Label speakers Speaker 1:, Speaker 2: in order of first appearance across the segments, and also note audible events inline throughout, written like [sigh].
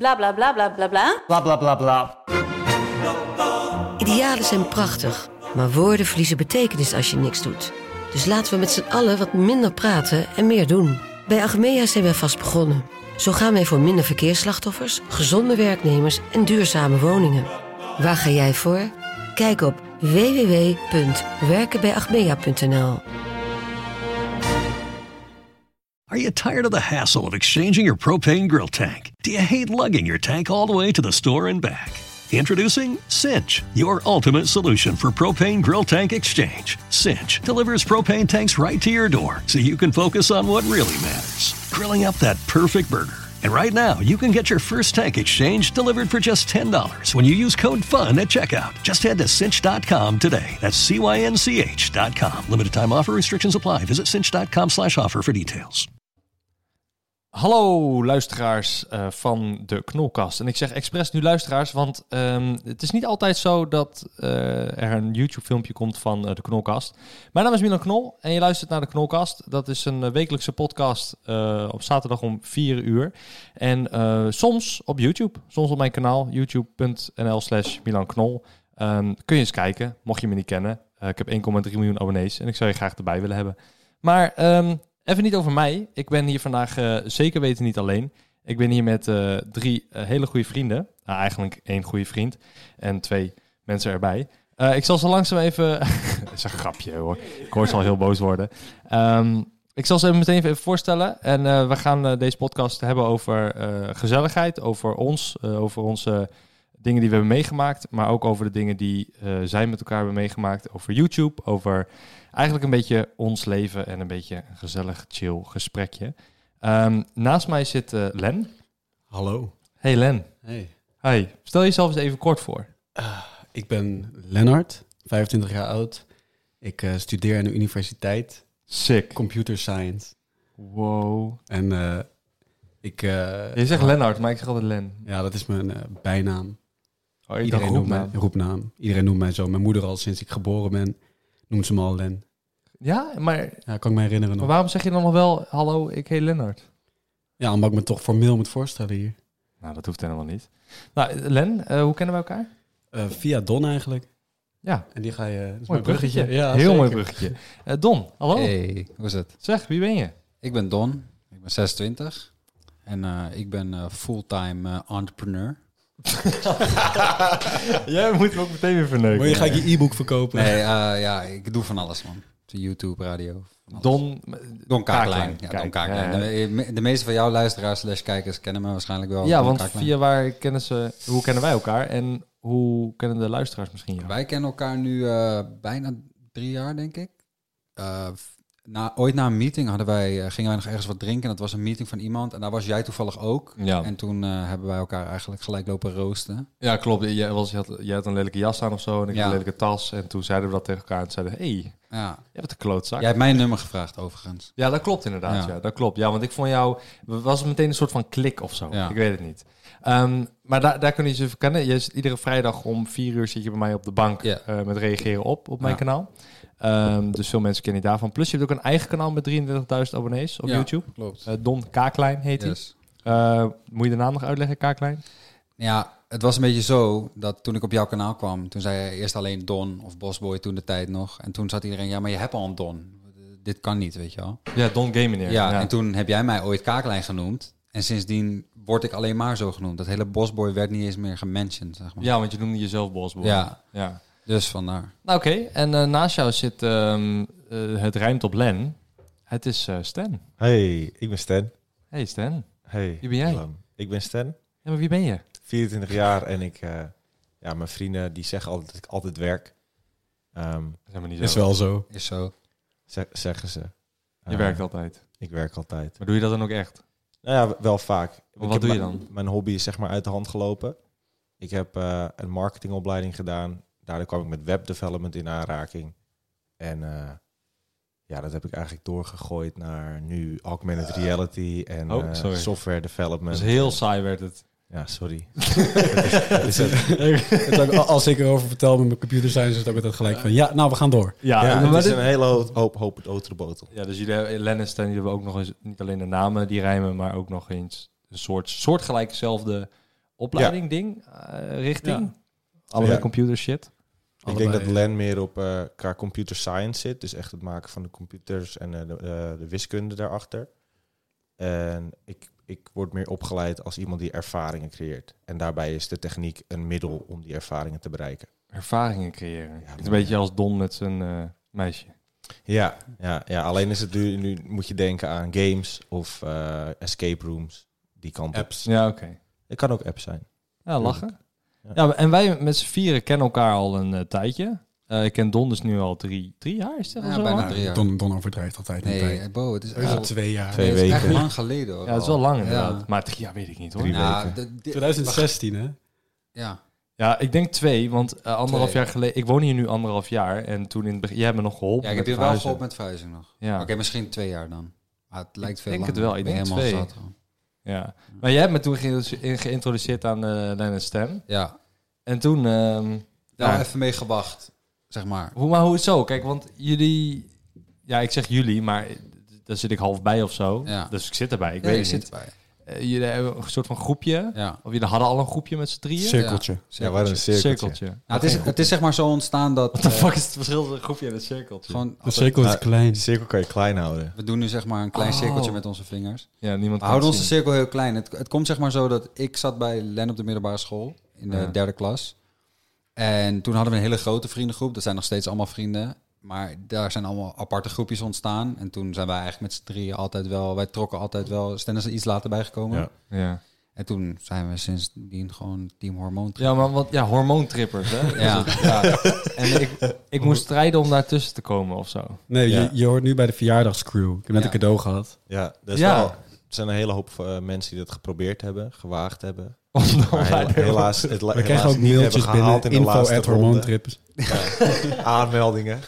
Speaker 1: Bla bla bla bla bla bla.
Speaker 2: Bla bla bla bla.
Speaker 3: Idealen zijn prachtig, maar woorden verliezen betekenis als je niks doet. Dus laten we met z'n allen wat minder praten en meer doen. Bij Agmea zijn wij vast begonnen. Zo gaan wij voor minder verkeersslachtoffers, gezonde werknemers en duurzame woningen. Waar ga jij voor? Kijk op www.werkenbijagmea.nl.
Speaker 4: Are you tired of the hassle of exchanging your propane grill tank? Do you hate lugging your tank all the way to the store and back? Introducing Cinch, your ultimate solution for propane grill tank exchange. Cinch delivers propane tanks right to your door so you can focus on what really matters grilling up that perfect burger. And right now, you can get your first tank exchange delivered for just $10 when you use code FUN at checkout. Just head to cinch.com today. That's C-Y-N-C-H.com. Limited time offer restrictions apply. Visit cinch.com slash offer for details.
Speaker 5: Hallo luisteraars eh, van de Knolkast. En ik zeg expres nu luisteraars, want ehm, het is niet altijd zo dat eh, er een YouTube-filmpje komt van eh, de Knolkast. Mijn naam is Milan Knol en je luistert naar de Knolkast. Dat is een eh, wekelijkse podcast eh, op zaterdag om 4 uur. En eh, soms op YouTube, soms op mijn kanaal youtube.nl slash Milan Knol. Ehm, kun je eens kijken, mocht je me niet kennen. Eh, ik heb 1,3 miljoen abonnees en ik zou je graag erbij willen hebben. Maar ehm, even niet over mij. Ik ben hier vandaag eh, zeker weten niet alleen. Ik ben hier met eh, drie eh, hele goede vrienden. Nou, eigenlijk één goede vriend en twee mensen erbij. Eh, ik zal zo langzaam even... [laughs] Dat is een grapje hoor. Ik hoor ze al heel boos worden. Ehm, ik zal ze meteen even voorstellen. En eh, we gaan eh, deze podcast hebben over eh, gezelligheid, over ons, eh, over onze dingen die we hebben meegemaakt. Maar ook over de dingen die eh, zij met elkaar hebben meegemaakt. Over YouTube, over eigenlijk een beetje ons leven en een beetje een gezellig, chill gesprekje. Ehm, naast mij zit eh, Len.
Speaker 6: Hallo.
Speaker 5: Hey Len.
Speaker 6: Hey.
Speaker 5: Hi. Stel jezelf eens even kort voor.
Speaker 6: Ik ben Lennart, 25 jaar oud. Ik eh, studeer aan de universiteit
Speaker 5: Sick.
Speaker 6: Computer Science.
Speaker 5: Wow.
Speaker 6: En eh, ik... eh,
Speaker 5: Je zegt Lennart, maar ik zeg altijd Len.
Speaker 6: Ja, dat is mijn eh, bijnaam.
Speaker 5: Oh, ik dacht
Speaker 6: Iedereen noemt mij
Speaker 5: roepnaam.
Speaker 6: roepnaam. Iedereen noemt mij zo. Mijn moeder al sinds ik geboren ben, noemt ze me al Len.
Speaker 5: Ja, maar,
Speaker 6: Ja, kan ik me herinneren
Speaker 5: maar
Speaker 6: nog.
Speaker 5: waarom zeg je dan nog wel, hallo, ik heet Lennart?
Speaker 6: Ja, omdat ik me toch formeel moet voorstellen hier.
Speaker 5: Nou, dat hoeft helemaal niet. Nou, Len, eh, hoe kennen we elkaar?
Speaker 6: Eh, via Don eigenlijk.
Speaker 5: Ja,
Speaker 6: En die ga je... dat is
Speaker 5: mooi
Speaker 6: mijn
Speaker 5: bruggetje.
Speaker 6: Ja,
Speaker 5: Heel
Speaker 6: zeker. Oh.
Speaker 5: mooi bruggetje. Eh, Don, hallo.
Speaker 7: Hey, hoe is het?
Speaker 5: Zeg, wie ben je?
Speaker 7: Ik ben Don, ik ben 26 en eh, ik ben eh, fulltime eh, entrepreneur.
Speaker 5: [laughs] Jij moet me ook meteen weer verneuken.
Speaker 6: Maar je gaat je e-book verkopen.
Speaker 7: [laughs]
Speaker 6: [laughs]
Speaker 7: Nee, eh, ja, ik doe van alles man. YouTube, radio. van alles.
Speaker 5: Don,
Speaker 7: Don Kaaklijn. Ja,
Speaker 5: Kijk,
Speaker 7: Don
Speaker 5: ja,
Speaker 7: Kaaklijn.
Speaker 5: ja.
Speaker 7: De, de meeste van jouw luisteraars slash kijkers kennen me waarschijnlijk wel. als
Speaker 5: Ja,
Speaker 7: Don
Speaker 5: want
Speaker 7: Kaaklijn.
Speaker 5: via waar kennen ze, hoe kennen wij elkaar en hoe kennen de luisteraars misschien jou?
Speaker 7: Wij kennen elkaar nu eh, bijna drie jaar, denk ik. Eh, f- na, ooit na een meeting hadden wij, eh, gingen wij nog ergens wat drinken. En dat was een meeting van iemand. En daar was jij toevallig ook.
Speaker 5: Ja.
Speaker 7: En toen eh, hebben wij elkaar eigenlijk gelijk lopen roosten.
Speaker 5: Ja, klopt. Jij, was, je had, jij had een lelijke jas aan of zo en ik
Speaker 7: Ja.
Speaker 5: had een lelijke tas. En toen zeiden we dat tegen elkaar en zeiden hé, hey,
Speaker 7: Ja.
Speaker 5: je hebt een klootzak.
Speaker 7: Jij hebt mijn nummer gevraagd, overigens.
Speaker 5: Ja, dat klopt inderdaad. Ja.
Speaker 7: Ja.
Speaker 5: dat klopt. Ja, want ik vond jou, was het meteen een soort van klik of zo.
Speaker 7: Ja.
Speaker 5: Ik weet het niet. Ehm, maar daar, daar kun je ze even kennen. Je zit iedere vrijdag om vier uur zit je bij mij op de bank
Speaker 7: Ja.
Speaker 5: eh, met reageren op, op mijn
Speaker 7: Ja.
Speaker 5: kanaal. Ehm, dus veel mensen kennen je daarvan. Plus je hebt ook een eigen kanaal met 23.000 abonnees op
Speaker 7: Ja,
Speaker 5: YouTube.
Speaker 7: Klopt.
Speaker 5: Eh, Don Kaaklijn heet hij.
Speaker 7: Yes.
Speaker 5: Eh, moet je de naam nog uitleggen, Kaaklijn?
Speaker 7: Nou Ja, het was een beetje zo dat toen ik op jouw kanaal kwam, toen zei je eerst alleen Don of Bosboy toen de tijd nog. En toen zat iedereen, ja, maar je hebt al een Don. Dit kan niet, weet je wel.
Speaker 5: Ja, Don Gamineer.
Speaker 7: Ja, en toen heb jij mij ooit Kaaklijn genoemd. En sindsdien word ik alleen maar zo genoemd. Dat hele Bosboy werd niet eens meer gementiond, zeg maar.
Speaker 5: ja want je noemde jezelf Bosboy.
Speaker 7: Ja,
Speaker 5: ja.
Speaker 7: dus vandaar.
Speaker 5: Nou, oké. En eh, naast jou zit, ehm, eh, het rijmt op Len. Het is eh, Stan.
Speaker 8: Hey, ik ben Stan.
Speaker 5: Hey Stan.
Speaker 8: Hey.
Speaker 5: Wie ben jij?
Speaker 8: Milan. Ik ben Stan,
Speaker 5: Ja, maar wie ben je?
Speaker 8: 24 jaar en ik, eh, ja, mijn vrienden die zeggen altijd dat ik altijd werk. Ehm,
Speaker 5: Zeg maar niet
Speaker 6: Is wel zo.
Speaker 7: Is zo.
Speaker 8: zeg- zeggen ze.
Speaker 5: Je
Speaker 8: Eh,
Speaker 5: werkt altijd.
Speaker 8: Ik werk altijd.
Speaker 5: Maar doe je dat dan ook echt?
Speaker 8: Nou ja, wel vaak. Ik
Speaker 5: wat
Speaker 8: heb
Speaker 5: doe je
Speaker 8: mijn-
Speaker 5: dan?
Speaker 8: Mijn hobby is zeg maar uit de hand gelopen. Ik heb eh, een marketingopleiding gedaan. Daardoor kwam ik met webdevelopment in aanraking. En eh, ja, dat heb ik eigenlijk doorgegooid naar nu augmented reality en
Speaker 5: Eh, Oh,
Speaker 8: eh,
Speaker 5: sorry.
Speaker 8: software
Speaker 5: Dat
Speaker 8: development.
Speaker 5: is heel saai werd [laughs] het.
Speaker 8: Ja, sorry.
Speaker 6: Het ook, als ik erover vertel met mijn computer zijn, is het ook altijd gelijk van ja, nou we gaan door.
Speaker 5: [laughs] Ja,
Speaker 8: Ja,
Speaker 5: maar
Speaker 8: het is
Speaker 5: dit-
Speaker 8: een hele hoop, hoop, hoop botel.
Speaker 5: ja dus jullie hebben, Len en Stan jullie hebben ook nog eens niet alleen de namen die rijmen, maar ook nog eens een soort soortgelijkzelfde opleiding ding, eh, richting.
Speaker 6: Ja.
Speaker 5: Allebei
Speaker 8: Ja.
Speaker 5: computer shit.
Speaker 8: Ik denk dat Len meer op eh, qua computer science zit. Dus echt het maken van de computers en eh, de, eh, de wiskunde daarachter. En ik, ik word meer opgeleid als iemand die ervaringen creëert. En daarbij is de techniek een middel om die ervaringen te bereiken.
Speaker 5: Ervaringen creëren.
Speaker 8: Ja,
Speaker 5: Het is
Speaker 8: maar-
Speaker 5: een beetje als Don met zijn eh, meisje.
Speaker 8: Ja, ja, ja alleen is het nu, nu moet je denken aan games of eh, escape rooms. Die kant op.
Speaker 6: Apps.
Speaker 5: Ja, oké.
Speaker 8: Het kan ook apps zijn.
Speaker 5: Ja, lachen.
Speaker 8: Ja.
Speaker 5: Ja, en wij met z'n vieren kennen elkaar al een eh, tijdje. Eh, ik ken Don dus nu al drie, drie jaar, is dat
Speaker 7: Ja,
Speaker 5: al zo
Speaker 7: bijna
Speaker 5: lang?
Speaker 7: drie jaar.
Speaker 6: Don, Don overdrijft altijd. niet bij.
Speaker 7: Nee, eh, Bo, het is,
Speaker 6: Hij is al
Speaker 7: al-
Speaker 6: twee jaar.
Speaker 8: eh, Twee
Speaker 7: het is echt
Speaker 8: weken.
Speaker 7: lang geleden. hoor.
Speaker 5: Ja, het is wel lang
Speaker 7: Ja.
Speaker 5: inderdaad. Maar drie jaar weet ik niet hoor.
Speaker 8: Drie
Speaker 7: Nou,
Speaker 8: weken.
Speaker 7: de- de-
Speaker 6: 2016, hè?
Speaker 7: Ja,
Speaker 5: Ja, ik denk twee, want eh, anderhalf
Speaker 7: Twee.
Speaker 5: jaar geleden... Ik woon hier nu anderhalf jaar en toen in het begin... Jij hebt me nog geholpen
Speaker 7: ja ik heb
Speaker 5: met
Speaker 7: je wel
Speaker 5: verhuizen.
Speaker 7: geholpen met verhuizing nog.
Speaker 5: Ja.
Speaker 7: Oké, misschien twee jaar dan. Maar het lijkt veel
Speaker 5: denk
Speaker 7: langer.
Speaker 5: het wel, ik
Speaker 7: ben
Speaker 5: denk
Speaker 7: helemaal
Speaker 5: twee.
Speaker 7: zat, hoor.
Speaker 5: ja. Maar jij hebt me toen ge- geïntroduceerd aan eh Lennart Stem.
Speaker 7: Ja,
Speaker 5: En toen... ehm,
Speaker 7: daar
Speaker 5: Ja.
Speaker 7: even mee gewacht, zeg maar.
Speaker 5: Hoe, maar hoe het zo? Kijk, want jullie... Ja, ik zeg jullie, maar daar zit ik half bij of zo.
Speaker 7: Ja.
Speaker 5: Dus ik zit erbij, ik
Speaker 7: Ja,
Speaker 5: weet het
Speaker 7: ik zit
Speaker 5: niet.
Speaker 7: erbij.
Speaker 5: Eh, jullie hebben een soort van groepje.
Speaker 7: Ja.
Speaker 5: Of jullie hadden al een groepje met z'n drieën?
Speaker 6: Cirkeltje.
Speaker 8: Ja, waar een cirkeltje.
Speaker 5: [laughs]
Speaker 7: Nou, het, is, het is zeg maar zo ontstaan dat...
Speaker 5: Wat de
Speaker 7: eh,
Speaker 5: fuck is het verschil tussen een groepje en een cirkeltje?
Speaker 7: Gewoon
Speaker 6: De
Speaker 7: altijd-
Speaker 6: cirkel is
Speaker 8: Nou,
Speaker 6: klein.
Speaker 8: De cirkel kan je klein houden.
Speaker 7: We doen nu zeg maar een klein
Speaker 5: Oh.
Speaker 7: cirkeltje met onze vingers.
Speaker 5: ja, niemand
Speaker 7: We
Speaker 5: kan
Speaker 7: houden
Speaker 5: het
Speaker 7: onze
Speaker 5: zien.
Speaker 7: cirkel heel klein. Het, het komt zeg maar zo dat ik zat bij Len op de middelbare school in de
Speaker 5: Ja.
Speaker 7: derde klas. En toen hadden we een hele grote vriendengroep. Dat zijn nog steeds allemaal vrienden. Maar daar zijn allemaal aparte groepjes ontstaan. En toen zijn wij eigenlijk met z'n drieën altijd wel... Wij trokken altijd wel... Sten is er iets later bijgekomen.
Speaker 8: Ja.
Speaker 5: Ja.
Speaker 7: En toen zijn we sindsdien gewoon Team Hormoon.
Speaker 5: ja, maar wat, ja, hormoontrippers, hè?
Speaker 7: Ja.
Speaker 5: Dus het- ja. En ik, ik moest strijden om daartussen te komen of zo. [laughs]
Speaker 6: Nee,
Speaker 8: Ja.
Speaker 6: je, je hoort nu bij de verjaardagscrew. Ik heb net
Speaker 7: Ja.
Speaker 6: een cadeau gehad.
Speaker 8: Ja, dat is
Speaker 5: Ja.
Speaker 8: wel- er zijn een hele hoop eh, mensen die dat geprobeerd hebben, gewaagd hebben.
Speaker 5: Om dan
Speaker 8: Maar
Speaker 5: bij
Speaker 8: hela-
Speaker 5: de-
Speaker 8: helaas, het la-
Speaker 6: We
Speaker 8: helaas
Speaker 6: krijgen ook
Speaker 8: niet hebben
Speaker 6: mailtjes binnen.
Speaker 8: gehaald in de laatste ronde.
Speaker 6: Info@hormoontrips.
Speaker 8: Aanmeldingen.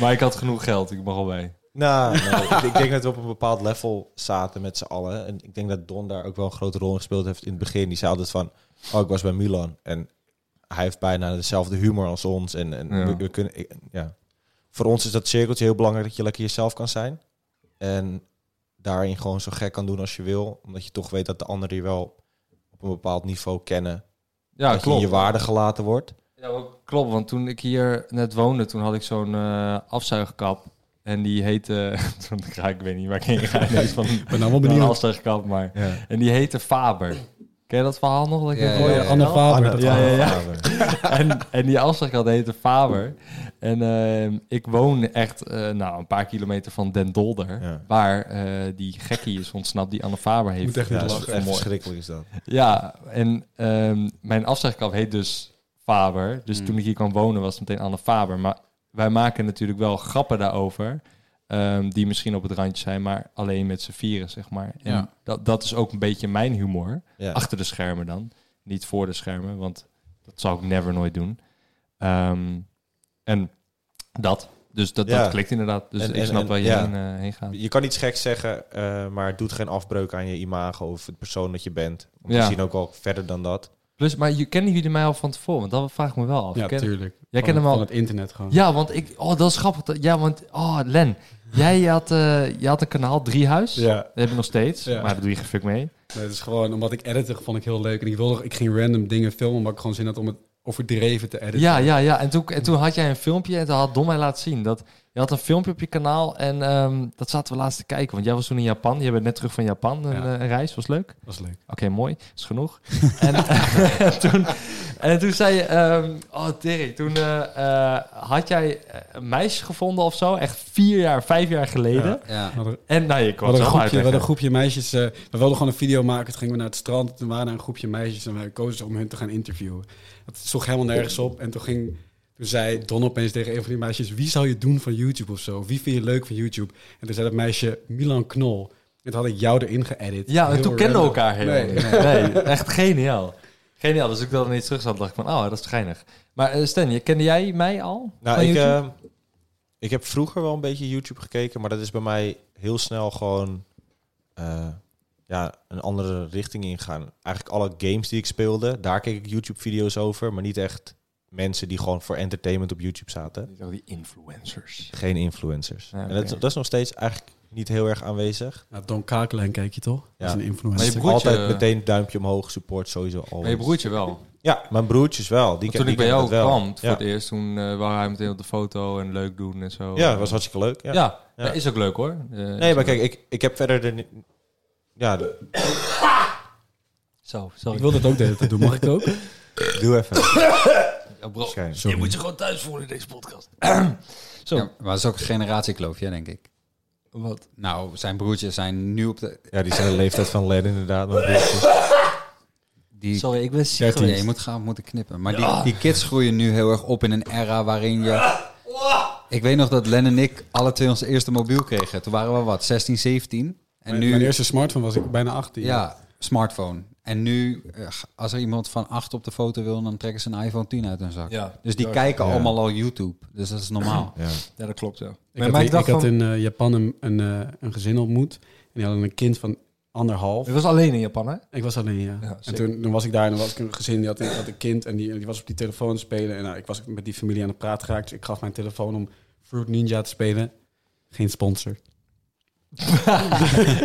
Speaker 5: Maar ik had genoeg geld, ik mag al bij.
Speaker 8: Nou, nee, ik, ik denk dat we op een bepaald level zaten met z'n allen. En ik denk dat Don daar ook wel een grote rol in gespeeld heeft in het begin. Die zei altijd van, oh, ik was bij Milan. En hij heeft bijna dezelfde humor als ons. En, en
Speaker 5: Ja.
Speaker 8: we, we kunnen, ik- ja. Voor ons is dat cirkeltje heel belangrijk dat je lekker jezelf kan zijn. En daarin gewoon zo gek kan doen als je wil. Omdat je toch weet dat de anderen je wel op een bepaald niveau kennen.
Speaker 5: Ja,
Speaker 8: dat je in
Speaker 5: klopt.
Speaker 8: je waarde gelaten wordt.
Speaker 5: Ja, maar klopt, want toen ik hier net woonde, toen had ik zo'n eh, afzuigkap. En die heette... [laughs] toen raak ik weet niet waar ik heen ga. ineens [laughs] van, ik
Speaker 6: ben allemaal
Speaker 5: Een
Speaker 6: benieuwd.
Speaker 5: afzuigkap, maar... En die heette Faber. Ken je dat verhaal nog? Dat ik
Speaker 7: Ja,
Speaker 5: Ah, dat
Speaker 7: ja,
Speaker 5: ooit
Speaker 6: Oh ja,
Speaker 7: ja,
Speaker 5: verteld?
Speaker 6: Anne Faber. dat
Speaker 5: ja,
Speaker 6: gaat.
Speaker 5: ja, ja. [laughs] en, en die afslagkant heette Faber. En ehm, ik woon echt eh, nou, een paar kilometer van Den Dolder.
Speaker 8: Ja.
Speaker 5: Waar eh, die gekkie is ontsnapt die Anne Faber
Speaker 6: Je moet
Speaker 5: heeft.
Speaker 6: echt
Speaker 8: Ja,
Speaker 6: niet
Speaker 8: dat is
Speaker 6: lachen.
Speaker 8: echt
Speaker 5: mooi.
Speaker 8: verschrikkelijk is dat.
Speaker 5: Ja, en ehm, mijn afslagkap heet dus Faber.
Speaker 8: Hmm.
Speaker 5: Dus toen ik hier kwam wonen was het meteen Anne Faber. Maar wij maken natuurlijk wel grappen daarover. ehm, die misschien op het randje zijn, maar alleen met z'n vieren, zeg maar. En
Speaker 7: Ja.
Speaker 5: dat, dat is ook een beetje mijn humor.
Speaker 8: Ja.
Speaker 5: Achter de schermen dan. Niet voor de schermen, want dat zou ik never nooit doen. Ehm, en dat. Dus dat,
Speaker 8: Ja.
Speaker 5: dat klikt inderdaad. Dus
Speaker 8: En-
Speaker 5: ik
Speaker 8: en-
Speaker 5: snap
Speaker 8: en-
Speaker 5: waar je
Speaker 8: ja.
Speaker 5: heen, eh, heen gaat.
Speaker 8: Je kan iets geks zeggen, eh, maar het doet geen afbreuk aan je imago of het persoon dat je bent. Want
Speaker 5: Ja.
Speaker 8: we zien ook al verder dan dat.
Speaker 5: Plus, maar je, kennen jullie mij al van tevoren? Want dat vraag ik me wel af.
Speaker 6: Ja,
Speaker 5: Ken-
Speaker 6: tuurlijk.
Speaker 5: jij
Speaker 6: Van-
Speaker 5: kent hem al.
Speaker 6: Van het internet gewoon.
Speaker 5: Ja, want ik... Oh, dat is grappig. dat- Ja, want... Oh, Len. Jij had, eh, je had een kanaal Driehuis.
Speaker 6: Ja.
Speaker 5: Dat heb ik nog steeds.
Speaker 6: Ja.
Speaker 5: Maar daar doe je geen fuck mee.
Speaker 6: Nee, het is gewoon omdat ik editen vond ik heel leuk. En ik, wilde, ik ging random dingen filmen, omdat ik gewoon zin had om het overdreven te editen.
Speaker 5: Ja, ja, ja. En toen, en toen had jij een filmpje en toen had Dom mij laten zien. Dat, je had een filmpje op je kanaal en ehm, dat zaten we laatst te kijken. Want jij was toen in Japan. Je bent net terug van Japan. Een,
Speaker 6: Ja.
Speaker 5: eh, een reis, was leuk.
Speaker 6: Dat was leuk.
Speaker 5: Oké, mooi. Is genoeg. [laughs] en, en [laughs] toen, en toen zei je... ehm, oh, Dirk. Toen eh, eh, had jij eh, een meisje gevonden of zo. Echt vier jaar, vijf jaar geleden.
Speaker 7: Ja.
Speaker 6: We hadden,
Speaker 5: En nou, je
Speaker 6: we
Speaker 5: kwam het zelf
Speaker 6: hadden een groepje, we
Speaker 5: uitleggen.
Speaker 6: hadden een groepje meisjes. eh, we wilden gewoon een video maken. Toen gingen we naar het strand. Toen waren er een groepje meisjes en wij kozen om hen te gaan interviewen. Dat sloeg helemaal nergens op. En toen ging... Toen zei Don opeens tegen een van die meisjes... Wie zou je doen van YouTube of zo? Wie vind je leuk van YouTube? En toen zei dat meisje Milan Knol. En toen had ik jou erin geëdit.
Speaker 5: Ja, en
Speaker 6: Heel
Speaker 5: toen kenden we
Speaker 6: random.
Speaker 5: elkaar helemaal
Speaker 6: Nee.
Speaker 5: niet. Nee, echt geniaal. Geniaal, dus ik dat ineens terug zat, dacht ik van, oh, dat is geinig. Maar eh, Stan, je, kende jij mij al?
Speaker 8: Nou,
Speaker 5: Van
Speaker 8: ik,
Speaker 5: YouTube?
Speaker 8: eh, ik heb vroeger wel een beetje YouTube gekeken, maar dat is bij mij heel snel gewoon eh, ja, een andere richting ingaan. Eigenlijk alle games die ik speelde, daar keek ik YouTube-video's over, maar niet echt mensen die gewoon voor entertainment op YouTube zaten.
Speaker 5: Niet al die influencers.
Speaker 8: Geen influencers.
Speaker 5: Ja,
Speaker 8: En dat,
Speaker 5: oké.
Speaker 8: dat is nog steeds eigenlijk niet heel erg aanwezig.
Speaker 6: Nou, Don Kakelen kijk je toch? Dat is een
Speaker 5: Maar je
Speaker 6: influencer.
Speaker 5: broertje-
Speaker 8: Altijd meteen duimpje omhoog, support sowieso al.
Speaker 5: Maar je broertje wel.
Speaker 8: Ja, mijn broertjes wel. Die
Speaker 5: Want
Speaker 8: ken-
Speaker 5: toen
Speaker 8: die
Speaker 5: ik bij
Speaker 8: kennen
Speaker 5: jou
Speaker 8: dat wel.
Speaker 5: kwam voor
Speaker 8: ja.
Speaker 5: het eerst, toen eh wou hij meteen op de foto en leuk doen en zo.
Speaker 8: Ja, dat was hartstikke leuk.
Speaker 5: ja.
Speaker 8: Ja.
Speaker 5: Ja, is ook leuk hoor. Eh,
Speaker 8: Nee, maar kijk, ik, ik heb verder... De, ni- ja, de-
Speaker 5: Zo, sorry.
Speaker 6: Ik wil dat ook de hele tijd doen, mag ik het
Speaker 5: [laughs]
Speaker 6: ook?
Speaker 8: doe even.
Speaker 5: Ja, bro,
Speaker 8: Schijn.
Speaker 5: je
Speaker 6: Sorry.
Speaker 5: moet je gewoon thuis voelen in deze podcast. zo,
Speaker 7: Ja, maar dat is ook een generatiekloofje, denk ik.
Speaker 5: wat?
Speaker 7: Nou, zijn broertjes zijn nu op de...
Speaker 8: Ja, die zijn de leeftijd van Len inderdaad. mijn broertjes.
Speaker 7: Die
Speaker 5: Sorry, ik ben ziek
Speaker 7: Nee,
Speaker 5: geweest.
Speaker 7: je moet gaan moeten knippen. Maar die, die kids groeien nu heel erg op in een era waarin je... Ik weet nog dat Len en ik alle twee onze eerste mobiel kregen. Toen waren we wat, 16, 17? En
Speaker 6: Mijn- Mijn
Speaker 7: nu...
Speaker 6: eerste smartphone was ik bijna 18.
Speaker 7: Ja, smartphone. En nu, eh, als er iemand van 8 op de foto wil, dan trekken ze een iPhone 10 uit hun zak.
Speaker 5: Ja,
Speaker 7: dus die
Speaker 5: dat-
Speaker 7: kijken
Speaker 8: ja.
Speaker 7: allemaal al YouTube. Dus dat is normaal.
Speaker 8: Ja.
Speaker 5: Ja, dat klopt, ja.
Speaker 6: Ik, had, ik had in eh, Japan een, een, eh, een gezin ontmoet. En die hadden een kind van anderhalf.
Speaker 5: Het was alleen in Japan, hè?
Speaker 6: Ik was alleen, ja.
Speaker 5: Ja,
Speaker 6: en
Speaker 5: zeker.
Speaker 6: toen, toen was ik daar en dan was ik een gezin die had, die had een kind en die, die was op die telefoon aan het spelen. En nou, ik was met die familie aan het praten geraakt. Dus ik gaf mijn telefoon om Fruit Ninja te spelen. Geen sponsor. [laughs]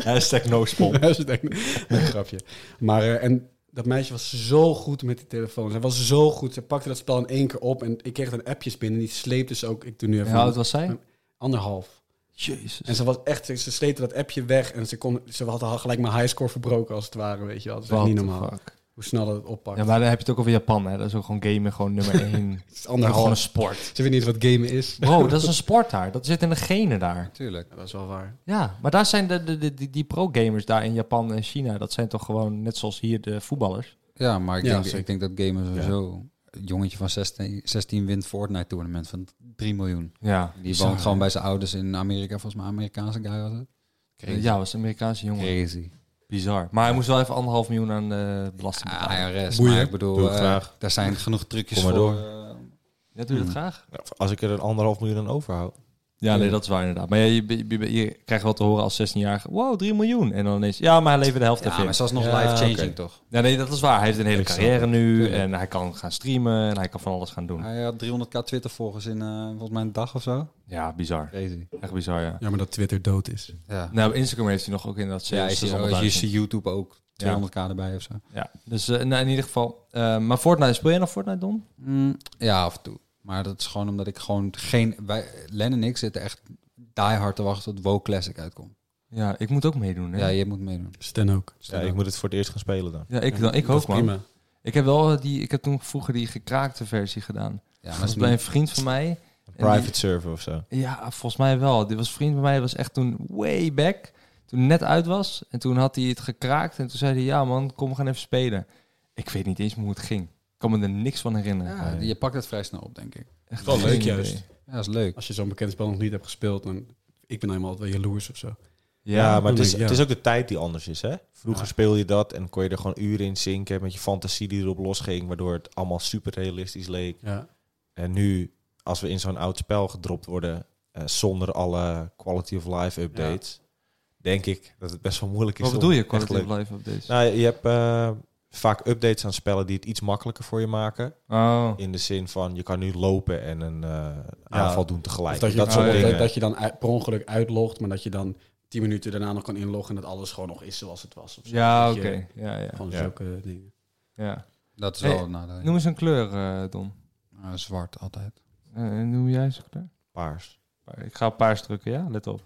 Speaker 5: Hashtag no spon.
Speaker 6: Dat is het [laughs] eng- een grapje. Maar eh, en dat meisje was zo goed met die telefoon. Zij was zo goed. Ze pakte dat spel in één keer op en ik kreeg dan appjes binnen. En die sleepte ze ook. Ik doe nu
Speaker 5: En
Speaker 6: even
Speaker 5: hoe oud was zij?
Speaker 6: anderhalf.
Speaker 5: Jezus.
Speaker 6: En ze was echt, ze, ze sleepte dat appje weg en ze, kon, ze had al gelijk mijn highscore verbroken als het ware, weet je wel. Dat is echt
Speaker 5: What
Speaker 6: niet
Speaker 5: the
Speaker 6: normaal.
Speaker 5: fuck.
Speaker 6: Hoe snel dat het oppakt.
Speaker 5: Ja, maar dan heb je het ook over Japan, hè? Dat is ook gewoon gamen, gewoon
Speaker 6: [laughs]
Speaker 5: nummer één.
Speaker 6: het is
Speaker 5: gewoon een
Speaker 6: anderhalf.
Speaker 5: sport.
Speaker 6: Ze weet niet wat gamen is.
Speaker 5: Bro, dat is een sport daar. Dat zit in de genen daar.
Speaker 7: Tuurlijk.
Speaker 6: Ja, dat is wel waar.
Speaker 5: Ja, maar daar zijn de, de, de- die, die pro-gamers daar in Japan en China, dat zijn toch gewoon net zoals hier de voetballers.
Speaker 7: Ja, maar ik,
Speaker 6: Ja,
Speaker 7: denk,
Speaker 6: zeker.
Speaker 7: ik denk dat gamers sowieso... Een jongetje van 16, 16 wint Fortnite tournament van 3 miljoen.
Speaker 5: Ja,
Speaker 7: Die woont gewoon bij zijn ouders in Amerika. Volgens mij Amerikaanse guy was het. Crazy.
Speaker 5: ja was een Amerikaanse jongen.
Speaker 7: Crazy.
Speaker 5: Bizar. Maar hij moest wel even anderhalf miljoen aan eh belasting
Speaker 7: Ah,
Speaker 5: betalen.
Speaker 7: IRS.
Speaker 6: Boeien.
Speaker 7: Maar ik bedoel,
Speaker 8: Doe ik
Speaker 7: eh,
Speaker 8: graag.
Speaker 7: daar zijn genoeg trucjes
Speaker 8: Kom maar
Speaker 7: voor.
Speaker 8: door.
Speaker 7: eh,
Speaker 5: Ja, doe je dat graag?
Speaker 8: Als ik er een anderhalf miljoen aan overhoud.
Speaker 5: Mm. Ja, nee, dat is waar inderdaad. Maar ja, je, je, je- je krijgt wel te horen als 16-jarige, wow, 3 miljoen. En dan ineens, ja, maar hij levert de helft
Speaker 7: ja,
Speaker 5: even in.
Speaker 7: maar ze was nog
Speaker 8: Ja,
Speaker 7: life-changing
Speaker 8: oké.
Speaker 7: toch?
Speaker 5: Ja, nee, dat is waar. Hij heeft een hele
Speaker 8: Ik snap
Speaker 5: carrière nu
Speaker 7: Tuurlijk.
Speaker 5: en hij kan gaan streamen en hij kan van alles gaan doen.
Speaker 7: Hij had 300k Twitter-volgers in eh, volgens mij een dag of zo.
Speaker 5: Ja, bizar.
Speaker 7: Crazy.
Speaker 5: Echt bizar, ja.
Speaker 6: Ja, maar dat Twitter dood is.
Speaker 7: Ja,
Speaker 5: Nou, op Instagram heeft hij nog ook inderdaad
Speaker 7: ja je,
Speaker 5: dat
Speaker 7: ziet, oh, je ziet YouTube ook 200k erbij of zo.
Speaker 5: Ja, dus eh, nou, in ieder geval. eh, maar Fortnite, speel je nog Fortnite, Don?
Speaker 7: Mm, ja, af en toe. Maar dat is gewoon omdat ik gewoon geen... Wij, Len en ik zitten echt die hard te wachten tot WoW Classic uitkomt.
Speaker 5: Ja, ik moet ook meedoen. Hè?
Speaker 7: Ja, je moet meedoen.
Speaker 6: Stan ook.
Speaker 8: Ja, ik moet het voor het eerst gaan spelen dan.
Speaker 5: Ja, ik, dan, ik
Speaker 6: Dat
Speaker 5: ook,
Speaker 6: is
Speaker 5: man.
Speaker 6: prima.
Speaker 5: Ik heb wel eh, die, ik heb toen vroeger die gekraakte versie gedaan.
Speaker 7: Ja, maar
Speaker 5: Dat
Speaker 7: het
Speaker 5: was
Speaker 7: is
Speaker 5: bij een
Speaker 7: niet-
Speaker 5: vriend van mij.
Speaker 8: Een
Speaker 5: En
Speaker 8: private server of zo.
Speaker 5: die- ja, volgens mij wel. Dit was een vriend van mij, was echt toen way back. Toen het net uit was. En toen had hij het gekraakt. En toen zei hij, ja man, kom we gaan even spelen. Ik weet niet eens meer hoe het ging. Ik kan me er niks van herinneren.
Speaker 7: ja, je pakt het vrij snel op, denk ik.
Speaker 5: Echt
Speaker 6: Wel
Speaker 5: geen
Speaker 6: leuk
Speaker 5: idee.
Speaker 6: juist.
Speaker 7: Ja, dat is leuk.
Speaker 6: Als je zo'n bekend spel nog niet hebt gespeeld, dan... Ik ben helemaal wel jaloers of zo.
Speaker 8: Ja,
Speaker 5: Ja,
Speaker 8: maar het
Speaker 6: bedoel
Speaker 8: is,
Speaker 6: ik, ja.
Speaker 8: het is ook de tijd die anders is, hè? Vroeger
Speaker 6: Ja.
Speaker 8: speel je dat en kon je er gewoon uren in zinken met je fantasie die erop losging, waardoor het allemaal super realistisch leek.
Speaker 6: Ja.
Speaker 8: En nu, als we in zo'n oud spel gedropt worden, eh, zonder alle quality of life updates, denk ik dat het best wel moeilijk is.
Speaker 5: Wat
Speaker 8: om
Speaker 5: bedoel je,
Speaker 8: echt
Speaker 5: quality
Speaker 8: leuk-
Speaker 5: of life updates?
Speaker 8: Nou, je hebt eh, vaak updates aan spellen die het iets makkelijker voor je maken.
Speaker 5: Oh,
Speaker 8: In de zin van, je kan nu lopen en een eh, aanval doen tegelijk.
Speaker 6: Of dat je,
Speaker 8: dat soort
Speaker 5: oh,
Speaker 6: dat-
Speaker 8: dingen.
Speaker 6: dat je dan uit- per ongeluk uitlogt, maar dat je dan tien minuten daarna nog kan inloggen en dat alles gewoon nog is zoals het was. Of zo.
Speaker 5: ja,
Speaker 6: Dat
Speaker 5: oké.
Speaker 6: je
Speaker 5: Ja, ja,
Speaker 6: Gewoon
Speaker 8: Ja.
Speaker 6: zulke dingen.
Speaker 5: ja.
Speaker 7: Dat is
Speaker 5: Hey,
Speaker 7: wel een nadeel.
Speaker 5: Noem eens een kleur, eh, Don.
Speaker 7: Ah, zwart altijd.
Speaker 5: Eh, noem jij eens een kleur?
Speaker 8: Paars.
Speaker 5: Ik ga op paars drukken, ja? Let op.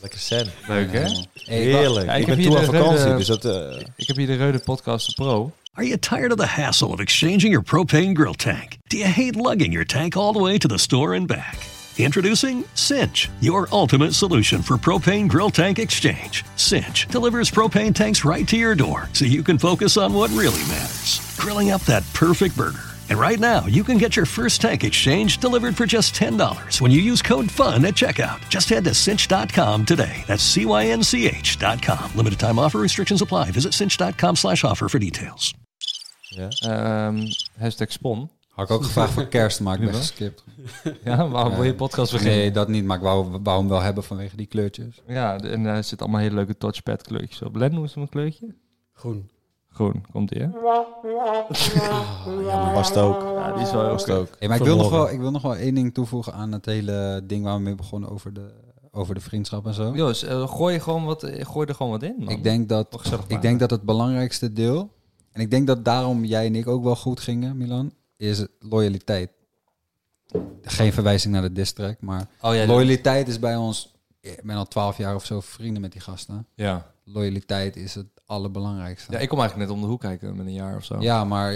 Speaker 8: Lekker zen.
Speaker 5: Leuk, hè?
Speaker 7: Hey, ik wou-
Speaker 8: Heerlijk.
Speaker 5: Ja, ik
Speaker 8: ik,
Speaker 5: heb
Speaker 8: ben
Speaker 5: hier
Speaker 8: toe aan
Speaker 5: de
Speaker 8: vakantie,
Speaker 5: rode-
Speaker 8: dus dat... eh,
Speaker 5: Ik heb hier de Reude Podcast de Pro.
Speaker 4: Are you tired of the hassle of exchanging your propane grill tank? Do you hate lugging your tank all the way to the store and back? Introducing Cinch, your ultimate solution for propane grill tank exchange. Cinch delivers propane tanks right to your door so you can focus on what really matters grilling up that perfect burger. And right now, you can get your first tank exchange delivered for just $10 when you use code FUN at checkout. Just head to cinch.com today. That's C-Y-N-C-H.com. Limited time offer restrictions apply. Visit cinch.com slash offer for details.
Speaker 8: ja.
Speaker 5: Ehm, hashtag Spon. [laughs]
Speaker 7: Had ik ook gevraagd voor kerst, maar ik ben geskipt.
Speaker 5: Ja, waarom wil je podcast beginnen?
Speaker 7: Nee, dat niet, maar ik wou, wou hem wel hebben vanwege die kleurtjes.
Speaker 5: Ja, de- en daar zitten allemaal hele leuke touchpad kleurtjes op. Len, hoe is het een kleurtje?
Speaker 6: Groen. [laughs]
Speaker 5: Groen, komt ie, hè?
Speaker 8: was het ook.
Speaker 5: Ja, die is wel heel
Speaker 8: Was het ook.
Speaker 7: Hey, maar ik wil, nog
Speaker 8: Verloren.
Speaker 7: wel, ik wil nog wel één ding toevoegen aan het hele ding waar we mee begonnen over de, over de vriendschap en zo.
Speaker 5: Jongens, eh, gooi, gewoon wat, eh, gooi er gewoon wat in, man.
Speaker 7: Ik denk,
Speaker 5: Toch
Speaker 7: dat,
Speaker 5: gezellig
Speaker 7: ik
Speaker 5: maken.
Speaker 7: denk dat het belangrijkste deel, en ik denk dat daarom jij en ik ook wel goed gingen, Milan, is loyaliteit. Geen verwijzing naar de district, maar
Speaker 5: Oh, ja,
Speaker 7: loyaliteit is bij ons, ik ben al twaalf jaar of zo vrienden met die gasten.
Speaker 5: ja.
Speaker 7: Loyaliteit is het allerbelangrijkste.
Speaker 5: ja,
Speaker 7: Ja,
Speaker 5: ik kom eigenlijk net om de hoek kijken met een jaar of zo.
Speaker 7: maar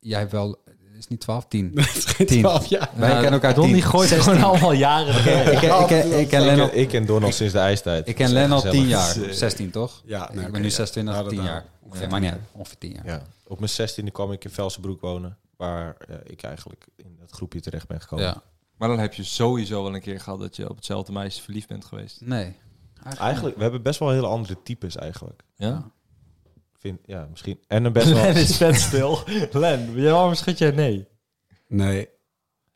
Speaker 7: jij hebt wel, het is niet twaalf, tien.
Speaker 6: Het is geen
Speaker 7: Tien.
Speaker 6: 12 jaar.
Speaker 7: Wij kennen elkaar
Speaker 5: Don,
Speaker 7: tien.
Speaker 5: die gooit gewoon allemaal jaren.
Speaker 7: Ik, ik, ik, ik, ik ken Len al,
Speaker 8: Ik ken Donald sinds de ijstijd.
Speaker 7: ik ken Len al tien jaar.
Speaker 8: [laughs]
Speaker 7: 16 toch?
Speaker 6: Ja, nou,
Speaker 7: ik
Speaker 6: oké,
Speaker 7: ben nu
Speaker 6: ja.
Speaker 7: 26,
Speaker 6: Ja, dat
Speaker 7: 10
Speaker 6: wel.
Speaker 7: jaar. Ongeveer, maar niet uit, ongeveer 10 jaar.
Speaker 8: Ja. Op mijn zestiende kwam ik in Velsenbroek wonen, waar eh, ik eigenlijk in dat groepje terecht ben gekomen.
Speaker 7: Ja.
Speaker 5: Maar dan heb je sowieso wel een keer gehad dat je op hetzelfde meisje verliefd bent geweest.
Speaker 7: Nee.
Speaker 8: Eigenlijk, we hebben best wel hele andere types eigenlijk.
Speaker 5: [laughs] Ja?
Speaker 8: Ik Vind, ja, misschien. En een
Speaker 5: [laughs]
Speaker 8: best wel...
Speaker 5: vet stil. Len, waarom schud jij nee?
Speaker 6: Nee.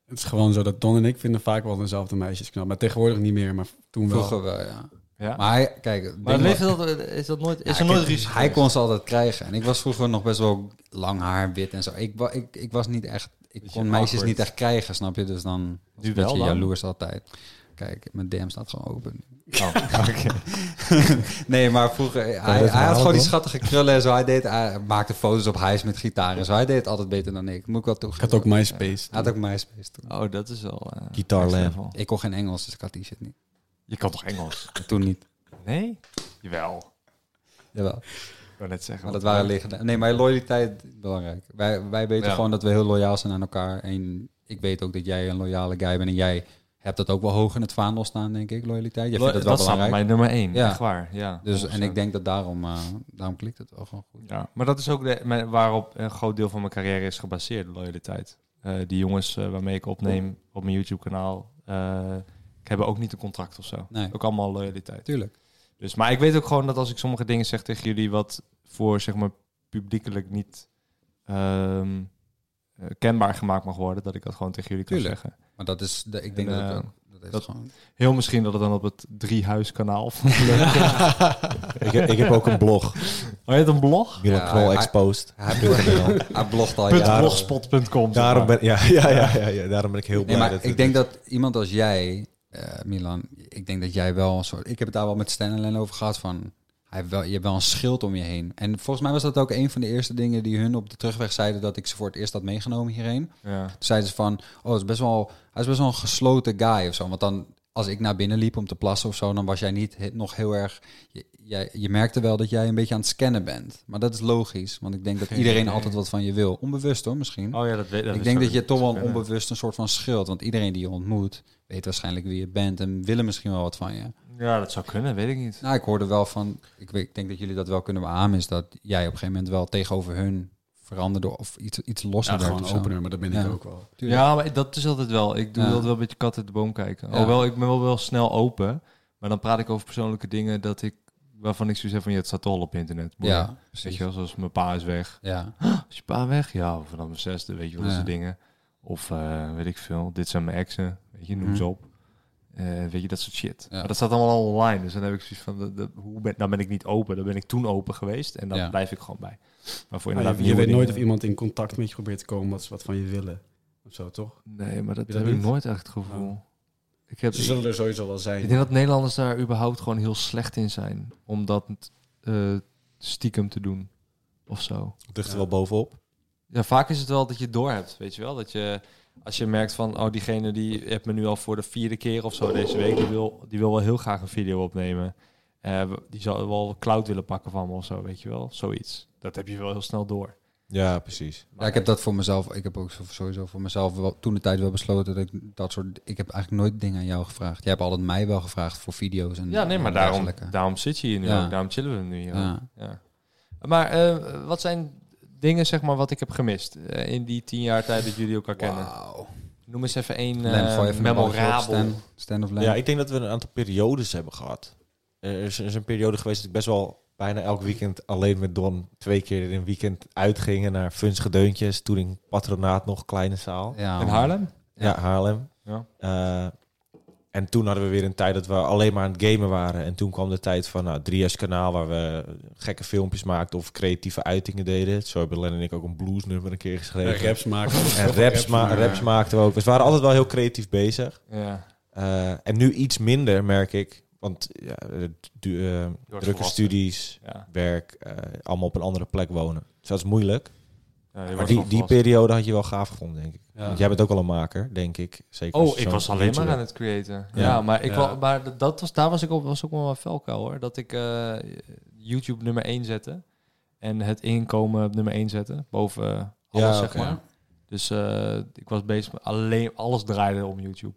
Speaker 6: Het is gewoon zo dat Don en ik vinden vaak wel dezelfde meisjes knap. Maar tegenwoordig niet meer, maar toen wel.
Speaker 7: Vroeger wel, ja.
Speaker 5: Ja.
Speaker 7: Maar hij, kijk, het
Speaker 5: Maar
Speaker 7: ding was-
Speaker 5: leeft dat, eh, is dat nooit, is
Speaker 7: Ja,
Speaker 5: er nooit
Speaker 7: kijk,
Speaker 5: risico?
Speaker 7: Hij kon ze altijd krijgen. En ik was vroeger nog best wel lang haar, wit en zo. Ik, wa- ik, ik was niet echt... Ik kon meisjes
Speaker 5: awkward.
Speaker 7: niet echt krijgen, snap je? Dus dan was ik
Speaker 5: wel
Speaker 7: een beetje
Speaker 5: dan?
Speaker 7: jaloers altijd. Kijk, mijn DM staat gewoon open.
Speaker 5: Oh.
Speaker 7: [laughs] nee, maar vroeger... hij,
Speaker 8: dat
Speaker 7: hij had
Speaker 8: verhaal,
Speaker 7: gewoon die
Speaker 8: hoor.
Speaker 7: schrattige krullen en zo. Hij, deed, hij maakte foto's op hijs met gitaar en zo. Hij deed het altijd beter dan ik. Moet ik wel
Speaker 6: Ik
Speaker 7: toegeven.
Speaker 6: had ook MySpace.
Speaker 7: Hij had ook MySpace toen.
Speaker 5: Oh, dat is wel... eh,
Speaker 8: Guitar
Speaker 5: next
Speaker 8: Lamp.
Speaker 5: level.
Speaker 7: Ik kon geen Engels, dus ik had die shit niet.
Speaker 5: Je kan toch Engels?
Speaker 7: Maar toen niet.
Speaker 5: Nee? Jawel.
Speaker 7: Jawel.
Speaker 5: Ik wil net zeggen.
Speaker 7: Maar dat
Speaker 5: want-
Speaker 7: waren legendaires. Nee, maar loyaliteit is belangrijk. Wij, wij weten
Speaker 5: Ja.
Speaker 7: gewoon dat we heel loyaal zijn aan elkaar. En ik weet ook dat jij een loyale guy bent. En jij hebt dat ook wel hoog in het vaandel staan, denk ik, loyaliteit. Jij
Speaker 5: Lo-
Speaker 7: vindt dat wel
Speaker 5: staat bij
Speaker 7: belangrijk.
Speaker 5: mij nummer één.
Speaker 7: Ja.
Speaker 5: Echt waar, ja.
Speaker 7: Dus, en
Speaker 5: 100%.
Speaker 7: ik denk dat daarom, eh, daarom klikt het wel gewoon goed.
Speaker 5: Ja, maar dat is ook de, mijn- waarop een groot deel van mijn carrière is gebaseerd, loyaliteit. Eh, die jongens eh, waarmee ik opneem op mijn YouTube-kanaal, eh, ik hebben ook niet een contract of zo.
Speaker 7: Nee.
Speaker 5: Ook allemaal loyaliteit.
Speaker 7: Tuurlijk.
Speaker 5: Dus, maar ik weet ook gewoon dat als ik sommige dingen zeg tegen jullie, wat voor zeg maar publiekelijk niet ehm, eh, kenbaar gemaakt mag worden, dat ik dat gewoon tegen jullie kan
Speaker 7: Tuurlijk.
Speaker 5: zeggen.
Speaker 7: Maar dat is, de, ik denk
Speaker 5: En,
Speaker 7: dat het
Speaker 5: eh,
Speaker 7: ook- dat heeft
Speaker 5: dat- [laughs]
Speaker 7: gewoon...
Speaker 5: Heel misschien dat het dan op het Driehuiskanaal
Speaker 8: [laughs]
Speaker 5: van
Speaker 8: ik, heb, ik heb ook een
Speaker 7: [laughs]
Speaker 8: blog.
Speaker 5: Oh, je hebt een blog?
Speaker 8: Milan
Speaker 7: Ja,
Speaker 8: Knol
Speaker 7: hij-
Speaker 8: Exposed.
Speaker 7: Hij, blogt, hij blogt al
Speaker 5: Punt
Speaker 7: jaren.
Speaker 5: blogspot.com. zeg
Speaker 8: [laughs] Daarom
Speaker 5: maar.
Speaker 8: ben, ja, [laughs] ja, ja, ja, ja, daarom ben ik heel blij.
Speaker 7: Nee, maar
Speaker 8: dat
Speaker 7: ik denk dat iemand als jij, eh, Milan, ik denk dat jij wel een soort. Ik heb het daar wel met Stan en Len over gehad van. Hij heeft wel, je hebt wel een schild om je heen. En volgens mij was dat ook een van de eerste dingen die hun op de terugweg zeiden dat ik ze voor het eerst had meegenomen hierheen.
Speaker 5: Ja.
Speaker 7: Toen zeiden ze van, oh, het is best wel, hij is best wel een gesloten guy of zo. Want dan, als ik naar binnen liep om te plassen of zo, dan was jij niet he- nog heel erg... Je, jij, je merkte wel dat jij een beetje aan het scannen bent. Maar dat is logisch, want ik denk
Speaker 8: [laughs]
Speaker 7: dat iedereen altijd wat van je wil. Onbewust hoor, misschien.
Speaker 5: Oh ja, dat weet
Speaker 7: Ik denk dat je toch wel een onbewust een soort van schild. Want iedereen die je ontmoet, weet waarschijnlijk wie je bent en willen misschien wel wat van je.
Speaker 5: Ja, dat zou kunnen, weet ik niet.
Speaker 7: Nou, ik hoorde wel van, ik, weet, ik denk dat jullie dat wel kunnen beamen, is dat jij op een gegeven moment wel tegenover hun veranderde of iets, iets losser
Speaker 6: Ja,
Speaker 7: werd
Speaker 6: gewoon
Speaker 7: of zo.
Speaker 6: opener, maar dat ben ik
Speaker 7: Ja.
Speaker 6: ook wel.
Speaker 7: Tuurlijk.
Speaker 5: Ja, maar dat is altijd wel. Ik doe
Speaker 7: Ja.
Speaker 5: altijd wel een beetje kat uit de boom kijken.
Speaker 7: Ja.
Speaker 5: Hoewel, ik ben wel, wel snel open. Maar dan praat ik over persoonlijke dingen dat ik, waarvan ik zoiets heb van... Ja, het staat toch al op internet. boeien.
Speaker 7: Ja,
Speaker 5: Weet
Speaker 7: precies.
Speaker 5: je wel, zoals mijn pa is weg.
Speaker 7: Ja,
Speaker 5: Is je pa weg? Ja, of dan mijn zesde, weet je wel, dat
Speaker 7: Ja.
Speaker 5: soort dingen. Of eh, weet ik veel, dit zijn mijn exen, weet je, noem
Speaker 7: Mhm.
Speaker 5: ze op. Eh, weet je, dat soort shit.
Speaker 7: Ja.
Speaker 5: Maar dat staat allemaal al online. Dus dan heb ik zoiets van, de, de- hoe ben, dan ben ik niet open. Dan ben ik toen open geweest en dan
Speaker 7: Ja.
Speaker 5: blijf ik gewoon bij. Maar voor
Speaker 6: Maar
Speaker 5: inderdaad
Speaker 6: Oh, je, je weet
Speaker 5: nieuwe
Speaker 6: nooit of
Speaker 5: dingen-
Speaker 6: iemand in contact met je probeert te komen wat ze wat van je willen. Of zo, toch?
Speaker 5: Nee, maar dat
Speaker 6: Heb je dat
Speaker 5: heb ik
Speaker 6: niet?
Speaker 5: nooit echt het gevoel.
Speaker 6: Oh.
Speaker 5: Ik heb,
Speaker 6: Ze zullen er sowieso wel
Speaker 5: Ik
Speaker 6: zijn.
Speaker 5: denk dat Nederlanders daar überhaupt gewoon heel slecht in zijn. Om dat eh, stiekem te doen. Of zo.
Speaker 8: Ducht er wel bovenop.
Speaker 5: Ja, vaak is het wel dat je het door hebt. Weet je wel? Dat je, als je merkt van, oh, diegene die heeft me nu al voor de vierde keer of zo deze week. Die wil, die wil wel heel graag een video opnemen. Eh, we- die zou wel cloud willen pakken van me of zo. Weet je wel? Zoiets. Dat heb je wel heel snel door.
Speaker 8: Ja, precies.
Speaker 7: ja, ik heb dat voor mezelf, ik heb ook zo- sowieso voor mezelf wel, toen de tijd wel besloten dat ik dat soort, ik heb eigenlijk nooit dingen aan jou gevraagd. Jij hebt altijd mij wel gevraagd voor video's en
Speaker 5: Ja, nee, maar
Speaker 7: en
Speaker 5: daarom,
Speaker 7: dergelijke.
Speaker 5: daarom zit je hier nu
Speaker 7: Ja.
Speaker 5: ook. Daarom chillen we nu hier ook.
Speaker 7: Ja.
Speaker 5: Ja. Maar eh, wat zijn dingen, zeg maar, wat ik heb gemist eh, in die tien jaar tijd dat jullie elkaar kennen?
Speaker 7: Wauw.
Speaker 5: Noem eens even één
Speaker 7: Len,
Speaker 5: eh,
Speaker 7: gooi even een balletje op.
Speaker 5: memorabel.
Speaker 7: Stan, Stan of Len.
Speaker 8: Ja, ik denk dat we een aantal periodes hebben gehad. Er is, er is een periode geweest dat ik best wel bijna elk weekend alleen met Don twee keer in een weekend uitgingen naar Funs Gedeuntjes. Toen in Patronaat nog, kleine zaal.
Speaker 7: ja,
Speaker 5: In Haarlem?
Speaker 8: Ja, Haarlem.
Speaker 5: Ja.
Speaker 8: Eh, En toen hadden we weer een tijd dat we alleen maar aan het gamen waren. En toen kwam de tijd van nou, 3S kanaal waar we gekke filmpjes maakten of creatieve uitingen deden. Zo hebben Len en ik ook een bluesnummer een keer
Speaker 6: En
Speaker 8: geschreven.
Speaker 6: Eh, raps maken. [laughs]
Speaker 8: En raps, ma- raps maakten we ook. Dus we waren altijd wel heel creatief bezig.
Speaker 5: Ja.
Speaker 8: Eh, en nu iets minder, merk ik. Want ja, eh, du- eh, drukke
Speaker 5: volwassen.
Speaker 8: studies,
Speaker 5: ja.
Speaker 8: werk, eh, allemaal op een andere plek wonen. Dus dat is moeilijk.
Speaker 5: Ja, je
Speaker 8: Maar
Speaker 5: wordt
Speaker 8: die,
Speaker 5: gewoon
Speaker 8: die
Speaker 5: volwassen.
Speaker 8: periode had je wel gaaf gevonden, denk ik.
Speaker 6: Ja.
Speaker 8: Want jij bent ook al een maker, denk ik. Zeker als
Speaker 5: Oh,
Speaker 8: je
Speaker 5: ik
Speaker 8: zo'n
Speaker 5: was alleen maar
Speaker 8: YouTuber-
Speaker 5: aan het creëren. Ja,
Speaker 8: Ja.
Speaker 5: maar, ik
Speaker 6: Ja.
Speaker 5: wa- maar d- dat was, daar was ik op, was ook wel een valkuil hoor. Dat ik eh, YouTube nummer 1 zette. En het inkomen op nummer 1 zette. Boven eh, alles,
Speaker 8: Ja,
Speaker 5: zeg
Speaker 8: oké.
Speaker 5: maar. Dus eh, ik was bezig met alleen, alles draaide om YouTube.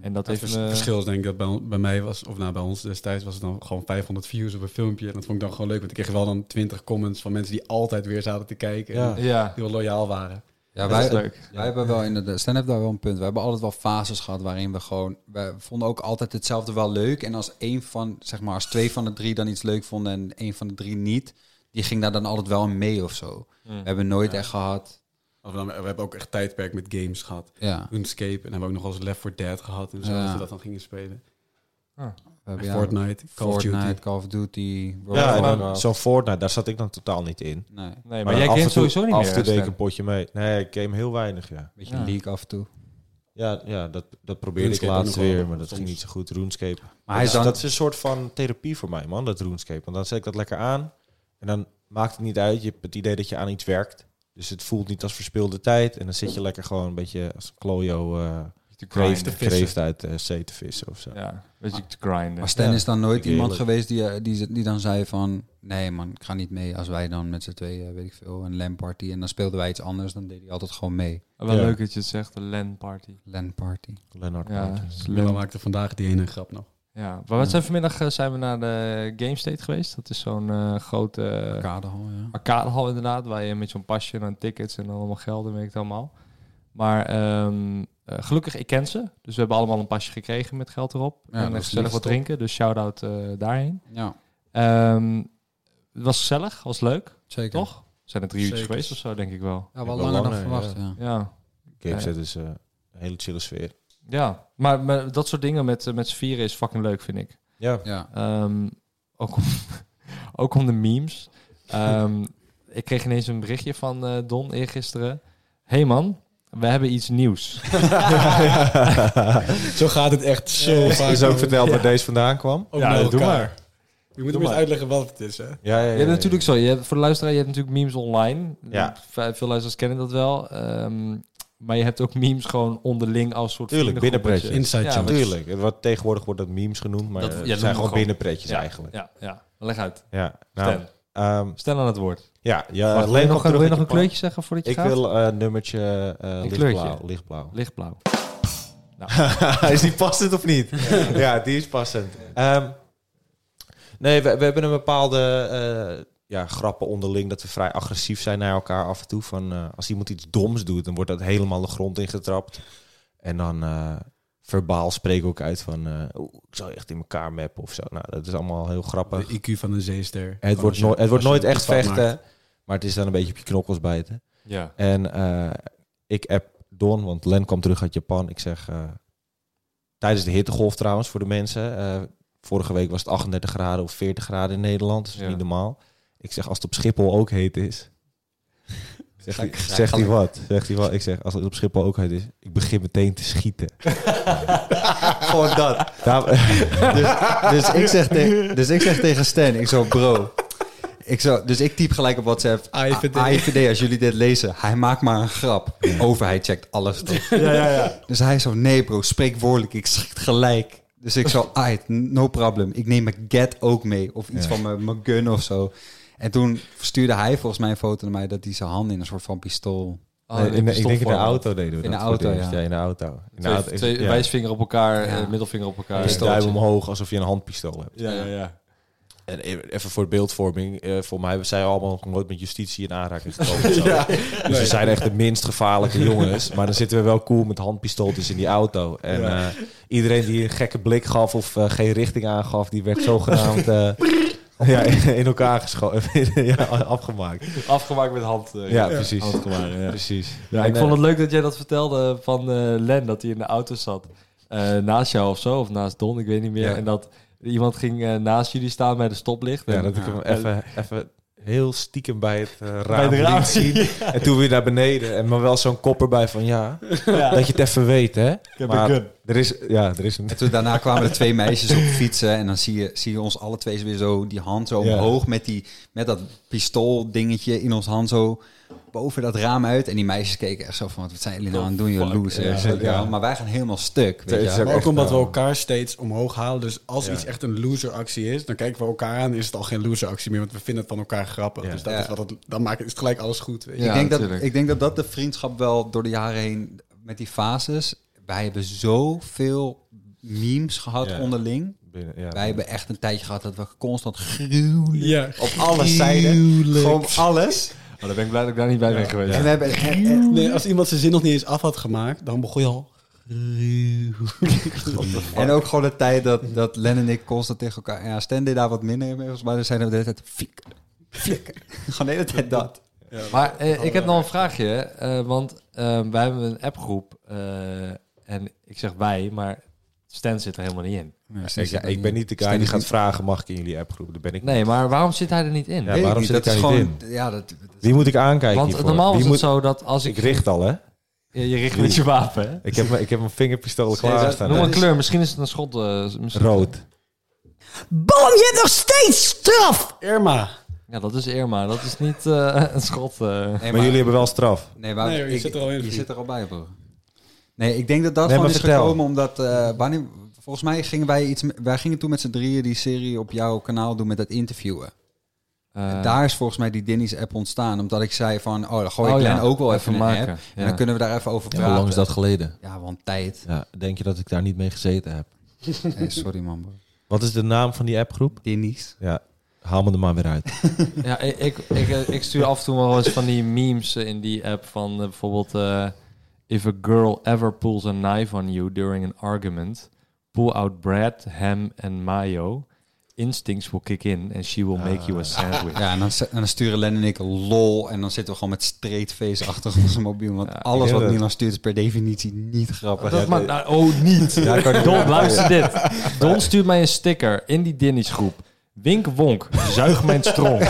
Speaker 5: En dat,
Speaker 6: Het
Speaker 5: heeft me...
Speaker 6: verschil is denk ik dat bij, on- bij mij was, of nou bij ons destijds, was het dan gewoon 500 views op een filmpje. En dat vond ik dan gewoon leuk, want ik kreeg wel dan 20 comments van mensen die altijd weer zaten te kijken.
Speaker 8: Ja.
Speaker 6: En die
Speaker 5: Ja,
Speaker 6: heel loyaal waren.
Speaker 7: Ja,
Speaker 5: dat is
Speaker 7: wij,
Speaker 5: leuk.
Speaker 7: wij hebben wel in de stand-up daar wel een punt. We hebben altijd wel fases gehad waarin we gewoon... We vonden ook altijd hetzelfde wel leuk. En als één van, zeg maar, als twee van de drie dan iets leuk vonden en één van de drie niet... Die ging daar dan altijd wel aan mee of zo.
Speaker 5: Mm.
Speaker 7: We hebben nooit echt gehad...
Speaker 6: Of dan, we hebben ook echt tijdperk met games gehad.
Speaker 7: Ja,
Speaker 6: RuneScape en hebben we ook nog wel eens Left 4 Dead gehad en zo,
Speaker 7: Ja.
Speaker 6: dat we dat dan gingen spelen.
Speaker 7: we hebben,
Speaker 6: En
Speaker 7: ja,
Speaker 6: Fortnite, Call of
Speaker 7: Fortnite,
Speaker 6: Duty.
Speaker 7: Call of Duty, World
Speaker 8: Ja,
Speaker 7: of
Speaker 8: en dan
Speaker 7: Warcraft.
Speaker 8: zo'n Fortnite, daar zat ik dan totaal niet in.
Speaker 7: Nee, een
Speaker 5: Nee, maar, jij kent sowieso niet
Speaker 8: af
Speaker 5: meer.
Speaker 8: en toe deed ik
Speaker 5: Stijn.
Speaker 8: een potje mee. Nee, ik game heel weinig, ja.
Speaker 7: beetje
Speaker 5: Ja.
Speaker 7: leak af en toe.
Speaker 8: Ja, ja dat, dat probeerde
Speaker 6: RuneScape
Speaker 8: ik
Speaker 6: ook
Speaker 8: laatst
Speaker 6: nog wel,
Speaker 8: weer, maar dat
Speaker 6: soms.
Speaker 8: ging niet zo goed. RuneScape.
Speaker 7: Maar
Speaker 8: dat,
Speaker 7: hij is dan...
Speaker 8: dat is een soort van therapie voor mij, man, dat RuneScape. Want dan zet ik dat lekker aan en dan maakt het niet uit. Je hebt het idee dat je aan iets werkt. Dus het voelt niet als verspilde tijd. En dan zit je lekker gewoon een beetje als een klojo eh
Speaker 5: Te grinden.
Speaker 8: kreeft, kreeft uit de zee te vissen of zo.
Speaker 5: Ja, een beetje te grinden.
Speaker 7: Maar Stan
Speaker 8: Ja,
Speaker 7: is dan nooit
Speaker 8: vind ik
Speaker 7: iemand
Speaker 8: heerlijk.
Speaker 7: geweest die, eh, die, die dan zei van... Nee man, ik ga niet mee als wij dan met z'n tweeën, eh, weet ik veel, een LAN-party. En dan speelden wij iets anders, dan deed hij altijd gewoon mee.
Speaker 5: Wel
Speaker 8: Ja.
Speaker 5: leuk dat je het zegt, de LAN party.
Speaker 7: LAN-party.
Speaker 8: Leonard
Speaker 5: Ja,
Speaker 8: Martin.
Speaker 5: is
Speaker 6: Milla
Speaker 5: LAN.
Speaker 6: maakte vandaag die ene grap nog.
Speaker 5: Ja, maar we zijn vanmiddag eh, zijn we naar de Game State geweest. Dat is zo'n eh, grote eh,
Speaker 7: Kadehal, ja.
Speaker 5: arcadehal inderdaad, waar je met zo'n pasje en dan tickets en dan allemaal geld en weet ik het allemaal. Maar ehm, eh, gelukkig, ik ken ze. Dus we hebben allemaal een pasje gekregen met geld erop.
Speaker 7: Ja,
Speaker 5: en
Speaker 7: dat
Speaker 5: eh,
Speaker 7: is
Speaker 5: gezellig
Speaker 7: lief,
Speaker 5: wat
Speaker 7: toch?
Speaker 5: drinken, dus shout-out eh, daarheen.
Speaker 7: Ja,
Speaker 5: Ehm, het was gezellig, was leuk,
Speaker 7: zeker.
Speaker 5: toch? Zijn er drie uurtjes
Speaker 6: Zeker.
Speaker 5: geweest of zo, denk ik wel.
Speaker 7: Ja,
Speaker 8: Wel
Speaker 7: wel langer dan
Speaker 8: langer,
Speaker 7: verwacht,
Speaker 8: ja.
Speaker 7: ja.
Speaker 5: Ja,
Speaker 8: Game Set is eh, een hele chille
Speaker 5: [laughs]
Speaker 8: sfeer.
Speaker 5: ja. Maar, maar dat soort dingen met, eh, met z'n vieren is fucking leuk, vind ik.
Speaker 8: Ja,
Speaker 7: Ja,
Speaker 5: Ehm, ook, om, [laughs] ook om de memes. Ehm, ik kreeg ineens een berichtje van eh, Don eergisteren. hey man, we hebben iets nieuws.
Speaker 6: Zo gaat het echt zo vaak. Oh.
Speaker 8: is ook verteld waar deze vandaan kwam.
Speaker 6: Ook
Speaker 5: Ja,
Speaker 6: naar
Speaker 5: doe
Speaker 6: elkaar.
Speaker 5: maar.
Speaker 6: Je moet hem eens
Speaker 5: maar.
Speaker 6: uitleggen wat het is, hè?
Speaker 8: Ja, ja,
Speaker 5: Je hebt natuurlijk zo, je hebt, voor de luisteraar, je hebt natuurlijk memes online.
Speaker 8: Ja.
Speaker 5: Ve- Veel luisteraars kennen dat wel. Ehm, maar je hebt ook memes gewoon onderling als soort
Speaker 8: Tuurlijk,
Speaker 5: vriendengroepetje.
Speaker 8: binnenpretje.
Speaker 6: Inside joke.
Speaker 5: maar-
Speaker 8: Tuurlijk. Het wordt, tegenwoordig wordt dat memes genoemd, maar
Speaker 5: Dat-
Speaker 8: dat,
Speaker 5: ja,
Speaker 8: het
Speaker 5: dat
Speaker 8: zijn
Speaker 5: noemen
Speaker 8: gewoon
Speaker 5: we
Speaker 8: binnenpretjes
Speaker 5: Ja,
Speaker 8: eigenlijk.
Speaker 5: Ja, ja. Leg uit.
Speaker 8: Ja, nou,
Speaker 5: Stel.
Speaker 8: ehm,
Speaker 5: Stel aan het woord.
Speaker 8: ja, ja
Speaker 5: Wacht, wil je
Speaker 8: Leen,
Speaker 5: nog, wil
Speaker 8: kom terug
Speaker 5: je
Speaker 8: uit
Speaker 5: nog
Speaker 8: je
Speaker 5: een
Speaker 8: pauze.
Speaker 5: kleurtje zeggen voordat je
Speaker 8: Ik
Speaker 5: gaat?
Speaker 8: wil eh, nummertje eh, lichtblauw.
Speaker 5: kleurtje.
Speaker 8: lichtblauw.
Speaker 5: Lichtblauw.
Speaker 8: [laughs] is die passend of niet? ja, die is passend. Ehm, nee, we, we hebben een bepaalde eh, ja, grappen onderling dat we vrij agressief zijn naar elkaar af en toe. Van, eh, als iemand iets doms doet, dan wordt dat helemaal de grond ingetrapt. En dan eh, verbaal spreken we ook uit van, eh, oeh, ik zal je echt in elkaar mappen of zo. Nou, dat is allemaal heel grappig.
Speaker 6: De IQ van een zeester.
Speaker 8: Het wordt,
Speaker 6: Als je-
Speaker 8: nooit- het wordt
Speaker 6: als je
Speaker 8: nooit echt
Speaker 6: fout maakt.
Speaker 8: vechten, maar het is dan een beetje op je knokkels bijten.
Speaker 5: Ja.
Speaker 8: En eh, ik app Don, want Len kwam terug uit Japan. Ik zeg, eh, tijdens de hittegolf trouwens voor de mensen. eh, vorige week was het 38 graden of 40 graden in Nederland. Dus dat is
Speaker 5: Ja.
Speaker 8: niet normaal. Ik zeg, als het op Schiphol ook heet is... Zegt hij, zegt hij wat? Zegt hij wat? Ik zeg, als het op Schiphol ook heet is, ik begin meteen te schieten. Gewoon dat.
Speaker 7: dus, dus, ik zeg te- dus ik zeg tegen Stan, ik zo, bro. Ik zo, dus ik typ gelijk op WhatsApp. "Ah,
Speaker 6: AIVD.
Speaker 7: A- AIVD, als jullie dit lezen. Hij maakt maar een grap. Overheid checkt alles toch. Dus hij zo, nee bro, spreek woordelijk. Ik schiet gelijk. Dus ik zo, ait, no problem. Ik neem mijn get ook mee. Of iets van mijn- mijn gun of zo. En toen stuurde hij volgens mij een foto naar mij... dat hij zijn hand in een soort van pistool...
Speaker 5: Oh,
Speaker 8: [laughs] Nee,
Speaker 5: de Nou,
Speaker 8: in de- ik denk in de
Speaker 5: pistoolvorm.
Speaker 8: auto deden we
Speaker 7: In de
Speaker 8: dat voor
Speaker 7: auto,
Speaker 8: het eerst.
Speaker 7: ja.
Speaker 8: in de auto. In de
Speaker 5: Twee,
Speaker 8: auto is-
Speaker 5: twee
Speaker 8: ja.
Speaker 5: wijsvinger op elkaar,
Speaker 7: Ja.
Speaker 5: eh, middelvinger op elkaar.
Speaker 8: Ja,
Speaker 7: Pistool.
Speaker 8: duim omhoog, alsof je een handpistool hebt.
Speaker 5: Ja, ja, ja.
Speaker 8: En e- even voor beeldvorming, eh, voor mij zijn we allemaal nog nooit met justitie in aanraking
Speaker 5: [laughs]
Speaker 8: gekomen. zo. Dus we zijn echt de minst gevaarlijke jongens. Maar dan zitten we wel cool met handpistooltjes in die auto. En eh, iedereen die een gekke blik gaf of eh, geen richting aangaf, die werd zogenaamd eh ja, in elkaar geschoten. [laughs] ja, afgemaakt.
Speaker 5: Afgemaakt met hand. eh,
Speaker 8: Ja, precies.
Speaker 5: handgemaren, ja.
Speaker 8: Precies.
Speaker 5: Ja,
Speaker 8: En,
Speaker 5: ik vond
Speaker 8: eh,
Speaker 5: het leuk dat jij dat vertelde van eh, Len, dat hij in de auto zat. eh, naast jou of zo, of naast Don, ik weet niet meer.
Speaker 7: Ja.
Speaker 5: En dat iemand ging eh, naast jullie staan bij de stoplicht.
Speaker 8: Ja,
Speaker 5: En-
Speaker 8: dat ik hem even, even heel stiekem bij het eh,
Speaker 5: bij
Speaker 8: raam
Speaker 5: het raam.
Speaker 8: liet
Speaker 5: [laughs]
Speaker 8: zien. En toen weer naar beneden. En maar wel zo'n kop erbij van ja, dat je het even weet, hè.
Speaker 5: heb
Speaker 8: maar
Speaker 5: een gun.
Speaker 8: Er is, ja, er is een...
Speaker 7: En toen daarna kwamen er twee meisjes
Speaker 8: [laughs]
Speaker 7: op fietsen. En dan zie je, zie je ons alle twee weer zo die hand zo
Speaker 8: Ja.
Speaker 7: omhoog met, die, met dat pistool dingetje in ons hand zo boven dat raam uit. En die meisjes keken echt zo van, wat zijn jullie nou aan het doen, je losers.
Speaker 8: Ja,
Speaker 7: weet je wel.
Speaker 8: ja.
Speaker 7: Maar wij gaan helemaal stuk, weet
Speaker 8: Het
Speaker 7: je wel.
Speaker 8: is ook
Speaker 6: Maar ook
Speaker 8: echt,
Speaker 6: omdat we
Speaker 8: eh,
Speaker 6: elkaar steeds omhoog halen. Dus als
Speaker 8: Ja.
Speaker 6: iets echt een loseractie is, dan kijken we elkaar aan. Is het al geen loseractie meer, want we vinden het van elkaar grappig.
Speaker 8: Ja.
Speaker 6: Dus dat
Speaker 7: Ja.
Speaker 6: is wat het, dan maakt, is het gelijk alles goed. Weet je.
Speaker 5: Ja,
Speaker 7: ik, denk dat,
Speaker 5: natuurlijk.
Speaker 7: ik denk dat dat de vriendschap wel door de jaren heen, met die fases... Wij hebben zoveel memes gehad
Speaker 8: Ja.
Speaker 7: onderling.
Speaker 8: Binnen, ja.
Speaker 7: Wij hebben echt een tijdje gehad dat we constant gruwelijk...
Speaker 6: Ja.
Speaker 7: Op alle zijden. Gewoon op alles.
Speaker 5: Oh, dan ben ik blij dat ik daar niet bij ben geweest.
Speaker 7: En we hebben...
Speaker 6: Nee, als iemand zijn zin nog niet eens af had gemaakt, dan begon je al.
Speaker 7: En ook gewoon de tijd dat, dat Len en ik constant tegen elkaar... Ja, Stan deed daar wat minder mee, volgens mij. Dan zeiden we de hele tijd... Fiek, fiek. [laughs] gewoon de hele tijd dat.
Speaker 5: Maar eh, ik heb nog een vraagje, eh, want eh, wij hebben een appgroep. eh, en ik zeg wij, maar Stan zit er helemaal niet in.
Speaker 8: Ik, ja, ik ben niet de guy die gaat vragen, mag ik in jullie appgroep? Daar ben ik
Speaker 5: Nee, maar waarom zit hij er niet in?
Speaker 8: Ja, waarom zit
Speaker 7: dat
Speaker 8: ik
Speaker 7: is
Speaker 8: daar niet
Speaker 7: gewoon... Ja, dat,
Speaker 8: Wie moet ik aankijken
Speaker 5: Want
Speaker 8: hiervoor?
Speaker 5: normaal was
Speaker 8: Wie
Speaker 5: het
Speaker 8: moet-
Speaker 5: zo dat als ik...
Speaker 8: Ik richt al, hè?
Speaker 5: je, je richt met je wapen, hè?
Speaker 8: Ik heb, mijn- ik heb mijn vingerpistolen
Speaker 7: dat-
Speaker 8: klaarstaan.
Speaker 5: Noem
Speaker 8: hè?
Speaker 5: een kleur, misschien is het een schot. eh, misschien-
Speaker 8: Rood.
Speaker 3: Bam, je hebt nog steeds straf!
Speaker 6: Irma!
Speaker 5: Ja, dat is Irma. Dat is niet eh, [laughs] een schot. eh.
Speaker 7: nee,
Speaker 8: Maar jullie hebben wel straf.
Speaker 7: Nee, Wout,
Speaker 6: Nee, hoor, je
Speaker 7: ik-
Speaker 6: zit er al in,
Speaker 7: Je
Speaker 6: vriend.
Speaker 7: zit er al bij, bro. Nee, ik denk dat dat
Speaker 8: Nee,
Speaker 7: gewoon
Speaker 8: maar
Speaker 7: is
Speaker 8: vertel.
Speaker 7: gekomen omdat... eh, wanneer, volgens mij gingen wij iets... met- Wij gingen toen met z'n drieën die serie op jouw kanaal doen met dat interviewen.
Speaker 5: Eh,
Speaker 7: Daar is volgens mij die Denny's app ontstaan. Omdat ik zei van, oh, dan gooi
Speaker 5: Oh
Speaker 7: ik
Speaker 5: ja,
Speaker 7: Len ook wel even,
Speaker 5: even
Speaker 7: een
Speaker 5: maken,
Speaker 7: app.
Speaker 5: ja.
Speaker 7: En dan kunnen we daar even over praten.
Speaker 8: geleden?
Speaker 7: Ja, want tijd.
Speaker 8: Ja, denk je dat ik daar niet mee gezeten heb?
Speaker 7: Nee, sorry man, bro.
Speaker 8: Wat is de naam van die appgroep?
Speaker 7: Denny's.
Speaker 8: Ja, haal me er maar weer uit.
Speaker 5: Ja, ik, ik, ik, eh, ik stuur af en toe wel eens van die memes eh, in die app van eh, bijvoorbeeld... eh, If a girl ever pulls a knife on you during an argument, pull out bread, ham and mayo. Instincts will kick in and she will make
Speaker 7: Ah.
Speaker 5: you a sandwich.
Speaker 7: Ja, en dan, en dan sturen Len en ik lol. En dan zitten we gewoon met straight face achter onze mobiel. Want alles
Speaker 8: ik
Speaker 7: wat
Speaker 8: ken dat.
Speaker 7: Milan stuurt is per definitie niet grappig.
Speaker 5: Dat maakt nou, oh, niet. Don, luister dit. Don stuurt mij een sticker in die Dinny's groep. Wink Wonk, zuig mijn strong.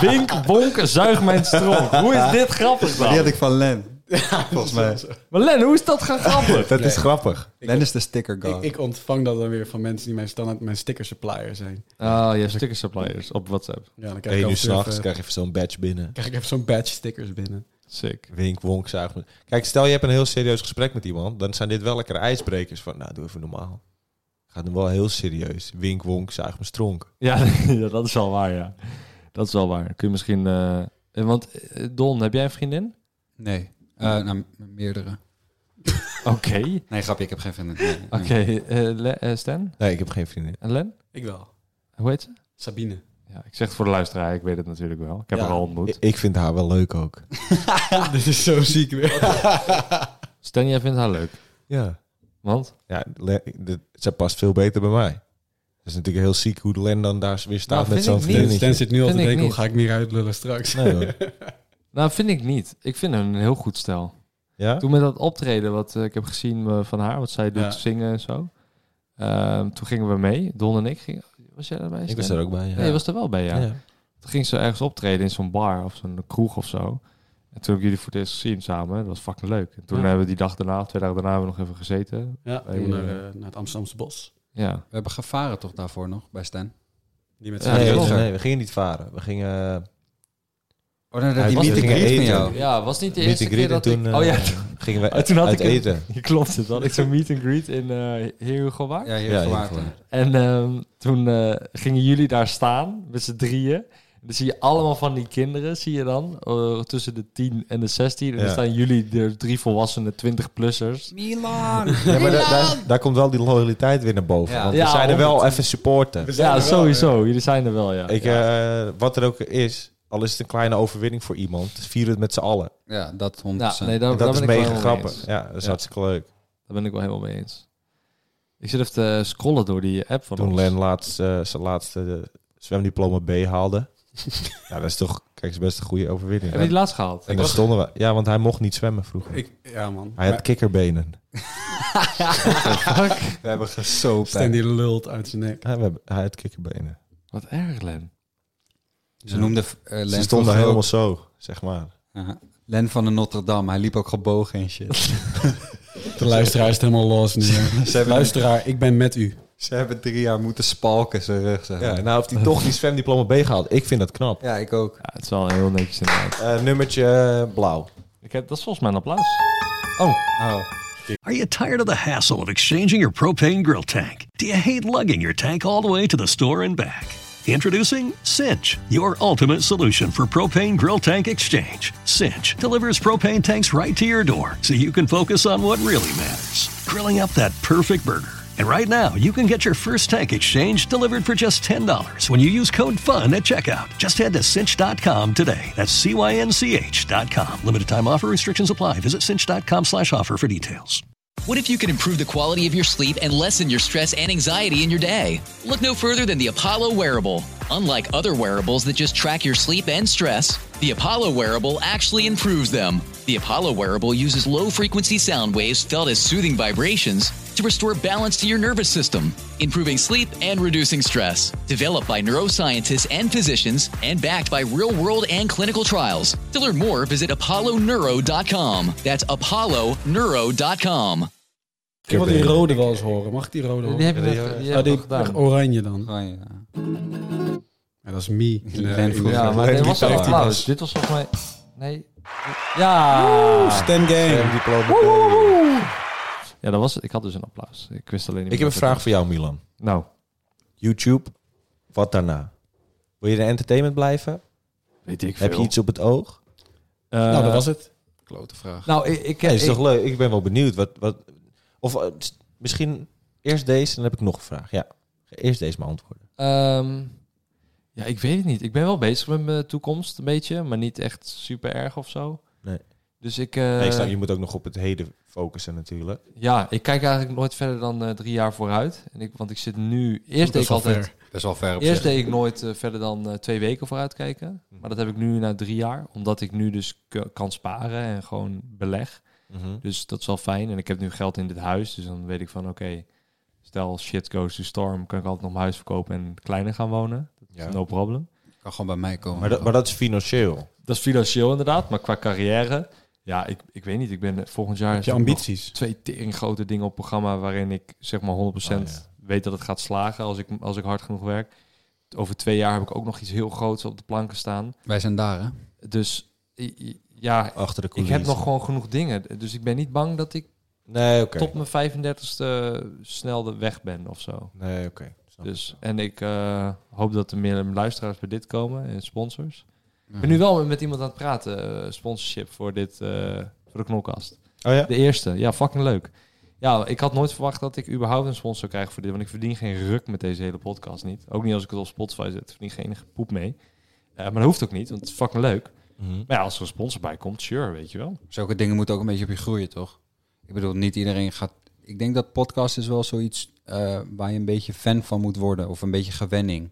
Speaker 5: Wink Wonk, zuig mijn strong. Hoe is dit grappig
Speaker 7: Die had
Speaker 5: dan?
Speaker 7: ik van Len. Volgens mij.
Speaker 5: Maar Len, hoe is dat gaan
Speaker 7: [laughs]
Speaker 5: grappig?
Speaker 8: [laughs] Dat is grappig.
Speaker 7: Len is de sticker god.
Speaker 6: Ik, ik ontvang dat dan weer van mensen die mijn standaard mijn sticker supplier zijn.
Speaker 5: Oh, je hebt sticker suppliers op WhatsApp.
Speaker 6: Ja, dan krijg
Speaker 8: Eén
Speaker 6: ik
Speaker 8: uur
Speaker 6: af en toe
Speaker 8: s'nachts
Speaker 6: even-
Speaker 8: krijg je even zo'n badge binnen.
Speaker 6: krijg ik even zo'n badge stickers binnen.
Speaker 5: Sick.
Speaker 8: Wink, wonk, zuig. me. Kijk, stel je hebt een heel serieus gesprek met iemand. Dan zijn dit wel lekkere ijsbrekers. Van, nou, doe even normaal. Gaat nu wel heel serieus. Wink, wonk, zuig me stronk.
Speaker 5: Ja, [laughs] ja, dat is wel waar, ja. Dat is wel waar. Kun je misschien... eh, eh, want eh, Don, heb jij een vriendin?
Speaker 7: Nee. Eh nou, m- meerdere.
Speaker 5: Oké.
Speaker 7: Nee, grapje, ik heb geen vrienden. Nee,
Speaker 5: Oké,
Speaker 7: nee.
Speaker 5: eh, Le- eh, Stan
Speaker 8: Nee, ik heb geen vriendin.
Speaker 5: en Len?
Speaker 6: Ik wel.
Speaker 5: Hoe heet ze?
Speaker 6: Sabine.
Speaker 5: Ja, ik zeg het voor de luisteraar, ik weet het natuurlijk wel. Ik heb
Speaker 6: Ja.
Speaker 5: haar al ontmoet.
Speaker 8: Ik- Ik vind haar wel
Speaker 5: [laughs]
Speaker 8: leuk ook.
Speaker 6: Dit is zo ziek weer.
Speaker 5: Stan, jij vindt haar leuk.
Speaker 8: Ja.
Speaker 5: Want?
Speaker 8: Ja, Le- dit- zij past veel beter bij mij. Dat is natuurlijk heel ziek hoe Len dan daar weer staat
Speaker 5: Nou, vind
Speaker 8: met zo'n
Speaker 5: ik niet.
Speaker 8: vriendinnetje.
Speaker 6: Stan zit nu al te
Speaker 5: Vind ik
Speaker 6: denken, hoe
Speaker 5: niet.
Speaker 6: ga ik me hier uitlullen straks?
Speaker 8: Nee, hoor.
Speaker 5: Nou, vind ik niet. Ik vind hem een heel goed stel.
Speaker 8: Ja?
Speaker 5: [laughs] Toen met dat optreden wat eh, ik heb gezien eh, van haar, wat zij doet,
Speaker 6: Ja.
Speaker 5: zingen en zo. Ehm, toen gingen we mee, Don en ik. Gingen, was jij daarbij?
Speaker 8: Ik
Speaker 5: Stan?
Speaker 8: was er ook bij. Ja.
Speaker 5: Nee, je was er wel bij, ja.
Speaker 8: Ja.
Speaker 5: Toen ging ze ergens optreden in zo'n bar of zo'n kroeg of zo. En toen heb ik jullie voor het eerst gezien samen. Dat was fucking leuk. En toen
Speaker 6: Ja.
Speaker 5: hebben we die dag daarna, of twee dagen daarna, hebben we nog even gezeten.
Speaker 6: Ja,
Speaker 5: Bij,
Speaker 6: naar,
Speaker 5: eh,
Speaker 6: eh, naar het Amsterdamse bos.
Speaker 5: Ja.
Speaker 7: We hebben gevaren toch daarvoor nog, bij Stan?
Speaker 6: Die met
Speaker 5: Ja,
Speaker 6: zijn
Speaker 8: Nee,
Speaker 5: klopt.
Speaker 8: nee, nee, we gingen niet varen. We gingen... eh,
Speaker 7: Oh, nee, dat
Speaker 8: Hij
Speaker 7: die
Speaker 8: was
Speaker 7: meet and
Speaker 8: gingen
Speaker 7: greet van
Speaker 8: eten.
Speaker 7: jou.
Speaker 5: Ja, was niet de
Speaker 8: Meet
Speaker 5: eerste
Speaker 8: and
Speaker 5: keer
Speaker 8: greet en
Speaker 5: dat
Speaker 8: toen
Speaker 5: ik...
Speaker 8: eh,
Speaker 5: oh ja,
Speaker 8: gingen we
Speaker 5: Oh, toen had
Speaker 8: uit
Speaker 5: ik een-
Speaker 8: eten.
Speaker 5: toen- [laughs] klopt het. Had ik zo'n meet and greet in eh Heerhugowaard.
Speaker 7: Ja, hier
Speaker 8: Ja,
Speaker 7: ja,
Speaker 8: hier
Speaker 5: En ehm, toen eh, gingen jullie daar staan, met z'n drieën. En Dan zie je allemaal van die kinderen, zie je dan, eh, tussen de 10 en de 16. En dan
Speaker 8: Ja.
Speaker 5: staan jullie, de drie volwassenen, 20-plussers.
Speaker 7: Milan!
Speaker 8: Ja, maar daar, daar, daar komt wel die loyaliteit weer naar boven.
Speaker 7: Ja.
Speaker 8: Want
Speaker 5: Ja,
Speaker 8: we zijn er wel even
Speaker 6: We
Speaker 8: supporten.
Speaker 6: zijn
Speaker 5: Ja,
Speaker 6: er wel,
Speaker 5: sowieso. Jullie zijn er wel, ja.
Speaker 8: Ik, eh, wat er ook is, al is het een kleine overwinning voor iemand, vieren het met z'n allen.
Speaker 7: Ja, dat 100%.
Speaker 5: ja, nee, Nou, daar,
Speaker 8: En dat
Speaker 5: daar
Speaker 8: is
Speaker 5: ben ik wel
Speaker 8: mega
Speaker 5: helemaal mee
Speaker 8: grappig.
Speaker 5: eens.
Speaker 8: Ja, dat is
Speaker 5: Ja.
Speaker 8: hartstikke leuk.
Speaker 5: Daar ben ik wel helemaal mee eens. Ik zit even te scrollen door die app van
Speaker 8: Toen
Speaker 5: ons.
Speaker 8: Len laatst, eh, zijn laatste eh, zwemdiploma B
Speaker 5: [laughs]
Speaker 8: haalde. ja, dat is toch, kijk, dat is best een goede overwinning.
Speaker 5: Heb je die laatst gehaald?
Speaker 8: en dan stonden we. Ja, want hij mocht niet zwemmen vroeger.
Speaker 6: Ik, ja, man.
Speaker 5: [laughs]
Speaker 8: Hij had kikkerbenen.
Speaker 5: fuck?
Speaker 8: We hebben gesoopt.
Speaker 6: Stan die lult uit zijn nek.
Speaker 8: Ja, we hebben, hij had kikkerbenen.
Speaker 5: Wat erg, Len.
Speaker 7: Ze noemde eh, Len
Speaker 8: Ze stonden
Speaker 7: van
Speaker 8: helemaal zo, zeg maar.
Speaker 7: Aha. Len van de Notre Dame. Hij liep ook gebogen en shit.
Speaker 6: De luisteraar is helemaal los nu.
Speaker 7: [laughs]
Speaker 6: Luisteraar, ik ben met u.
Speaker 7: Ze hebben drie jaar moeten spalken zijn rug. Zeg maar.
Speaker 8: Ja,
Speaker 7: ja.
Speaker 8: nou heeft hij [laughs] toch die zwemdiploma B gehaald. Ik vind dat knap.
Speaker 7: ik ook.
Speaker 5: Ja, het is wel heel netjes inderdaad.
Speaker 8: Eh, nummertje eh, blauw.
Speaker 5: Ik heb, dat is volgens mij een applaus.
Speaker 7: Oh, oh.
Speaker 4: Are you tired of the hassle of exchanging your propane grill tank? Do you hate lugging your tank all the way to the store and back? Introducing Cinch, your ultimate solution for propane grill tank exchange. Cinch delivers propane tanks right to your door so you can focus on what really matters grilling up that perfect burger. And right now, you can get your first tank exchange delivered for just $10 when you use code FUN at checkout. Just head to cinch.com today. That's C-Y-N-C-H.com. Limited time offer restrictions apply. Visit cinch.com slash offer for details.
Speaker 1: What if you could improve the quality of your sleep and lessen your stress and anxiety in your day? Look no further than the Apollo wearable. Unlike other wearables that just track your sleep and stress, the Apollo wearable actually improves them. The Apollo wearable uses low frequency sound waves felt as soothing vibrations to restore balance to your nervous system, improving sleep and reducing stress. Developed by neuroscientists and physicians and backed by real world and clinical trials. To learn more, visit apolloneuro.com. That's apolloneuro.com.
Speaker 6: Ik wil die rode wel eens horen. Mag ik die rode horen?
Speaker 5: Die heb je
Speaker 8: Ja,
Speaker 5: net- die heb
Speaker 6: Ah,
Speaker 5: je
Speaker 6: die
Speaker 5: nog gedaan.
Speaker 6: oranje dan.
Speaker 7: Gewoon, Oh, ja.
Speaker 6: Ja, dat is me. In de-
Speaker 7: Len
Speaker 6: in
Speaker 7: vroeg-
Speaker 6: de-
Speaker 5: Ja, maar dit was een
Speaker 6: Len die
Speaker 5: applaus. Dit was volgens mij... Nee. Ja!
Speaker 6: Stan Game.
Speaker 8: Zwemdiploma B.
Speaker 5: Ja, dat was het. Ik had dus een applaus. Ik wist alleen niet
Speaker 8: Ik
Speaker 5: meer
Speaker 8: heb een
Speaker 5: dat
Speaker 8: vraag
Speaker 5: het-
Speaker 8: voor jou, Milan.
Speaker 5: Nou,
Speaker 8: YouTube, wat daarna? Wil je in entertainment blijven?
Speaker 5: weet ik veel.
Speaker 8: Heb je iets op het oog?
Speaker 5: Eh,
Speaker 6: Nou, dat was het.
Speaker 7: Klote vraag.
Speaker 5: Nou, ik, ik,
Speaker 8: Ja, is
Speaker 5: ik-
Speaker 8: toch leuk? Ik ben wel benieuwd. Wat, wat, of eh, s- misschien eerst deze, dan heb ik nog een vraag. Ja, eerst deze maar antwoorden.
Speaker 5: Ehm, ja, ik weet het niet. Ik ben wel bezig met mijn toekomst, een beetje. Maar niet echt super erg of zo.
Speaker 8: Nee.
Speaker 5: Dus ik... eh,
Speaker 8: Nee, ik snap, je moet ook nog op het heden focussen natuurlijk.
Speaker 5: Ja, ik kijk eigenlijk nooit verder dan eh, drie jaar vooruit. En ik, want ik zit nu... Eerst deed
Speaker 6: Dat
Speaker 5: ik
Speaker 6: is al
Speaker 5: altijd...
Speaker 6: ver.
Speaker 7: Best wel ver op
Speaker 5: Eerst
Speaker 7: zich.
Speaker 5: deed ik nooit eh, verder dan eh, twee weken vooruit kijken. Maar dat heb ik nu na drie jaar. Omdat ik nu dus k- kan sparen en gewoon beleg.
Speaker 8: Mhm.
Speaker 5: Dus dat is wel fijn. En ik heb nu geld in dit huis. Dus dan weet ik van oké, stel shit goes to storm. Kan ik altijd nog mijn huis verkopen en kleiner gaan wonen. Dat is
Speaker 8: Ja.
Speaker 5: no problem.
Speaker 7: Kan gewoon bij mij komen.
Speaker 8: Maar dat, maar dat is financieel.
Speaker 5: Dat is financieel inderdaad. Maar qua carrière, ja, ik, ik weet niet. Ik ben eh, volgend jaar...
Speaker 6: Heb je
Speaker 5: zit ik nog-
Speaker 6: ambities?
Speaker 5: twee tering grote dingen op programma waarin ik zeg maar 100%
Speaker 8: Oh, ja.
Speaker 5: weet dat het gaat slagen als ik, als ik hard genoeg werk. Over twee jaar heb ik ook nog iets heel groots op de planken staan.
Speaker 7: Wij zijn daar, hè?
Speaker 5: Dus i- i- ja,
Speaker 8: Achter de
Speaker 5: ik
Speaker 8: coulissen.
Speaker 5: heb nog gewoon genoeg dingen. Dus ik ben niet bang dat ik
Speaker 8: Nee, oké.
Speaker 5: tot mijn 35ste snel de weg ben of zo.
Speaker 8: Nee, oké. Snap ik.
Speaker 5: Dus, en ik eh, hoop dat er meer luisteraars bij dit komen en sponsors. Ik ben nu wel met iemand aan het praten, eh, sponsorship voor dit, eh, voor de knolkast.
Speaker 8: Oh ja?
Speaker 5: De eerste, ja, fucking leuk. Ja, ik had nooit verwacht dat ik überhaupt een sponsor krijg voor dit, want ik verdien geen ruk met deze hele podcast niet. Ook niet als ik het op Spotify zet, verdien geen enige poep mee. Eh, maar dat hoeft ook niet, want het is fucking leuk.
Speaker 8: Mhm.
Speaker 5: Maar ja, als er een sponsor bij komt, sure, weet je wel.
Speaker 7: Zulke dingen moeten ook een beetje op je groeien, toch? Ik bedoel, niet iedereen gaat... Ik denk dat podcast is wel zoiets eh, waar je een beetje fan van moet worden. Of een beetje gewenning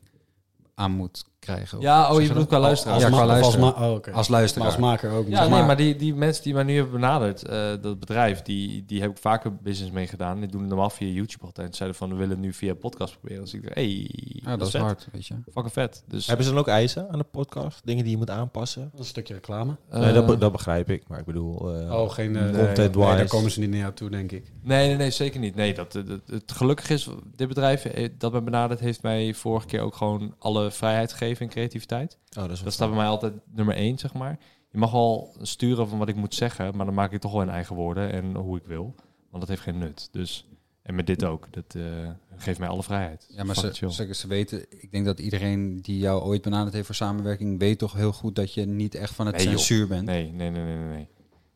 Speaker 7: aan moet krijgen. Of
Speaker 5: Ja, oh,
Speaker 7: zeg
Speaker 5: je
Speaker 7: dat?
Speaker 5: bedoelt qua
Speaker 7: Al-
Speaker 5: luisteraar.
Speaker 6: Als
Speaker 7: Ja,
Speaker 6: ma-
Speaker 7: qua
Speaker 6: of als
Speaker 7: luisteraar.
Speaker 6: ma- oh, oké.
Speaker 7: Als luisteraar.
Speaker 6: Maar als maker ook.
Speaker 5: Ja, nee, maar die, die mensen die mij nu hebben benaderd, eh, dat bedrijf, die, die heb ik vaker business mee gedaan. Die doen het normaal via YouTube altijd. En zeiden van, we willen het nu via podcast proberen. Dus ik dacht, hey,
Speaker 7: Ja, dat, is
Speaker 5: vet.
Speaker 7: hard, weet je.
Speaker 5: Fucking vet. Dus,
Speaker 8: Hebben ze dan ook eisen aan de podcast? Dingen die je moet aanpassen?
Speaker 6: Een stukje reclame.
Speaker 8: nee, dat, be-
Speaker 5: eh,
Speaker 8: dat begrijp ik. Maar ik bedoel... eh,
Speaker 6: Oh, geen... eh,
Speaker 8: Content
Speaker 6: nee,
Speaker 8: wise.
Speaker 6: daar komen ze niet naar toe, denk
Speaker 7: Oh,
Speaker 6: ik.
Speaker 5: Nee, nee, nee, zeker niet. Nee, dat, dat- het gelukkig is, dit bedrijf eh, dat mij benaderd heeft mij vorige keer ook gewoon alle vrijheid gegeven in creativiteit.
Speaker 8: oh, dat is wel
Speaker 5: Dat staat bij mij altijd nummer één, zeg maar. Je mag wel sturen van wat ik moet zeggen, maar dan maak ik toch wel in eigen woorden en hoe ik wil. Want dat heeft geen nut. Dus, en met dit ook. Dat eh, geeft mij alle vrijheid.
Speaker 7: Ja, maar
Speaker 5: Fucking
Speaker 7: ze,
Speaker 5: chill.
Speaker 7: ze, ze weten, ik denk dat iedereen die jou ooit benaderd heeft voor samenwerking, weet toch heel goed dat je niet echt van het
Speaker 5: Nee, joh.
Speaker 7: censuur bent.
Speaker 8: Hm?
Speaker 5: Nee, nee, nee, nee, nee. Nee,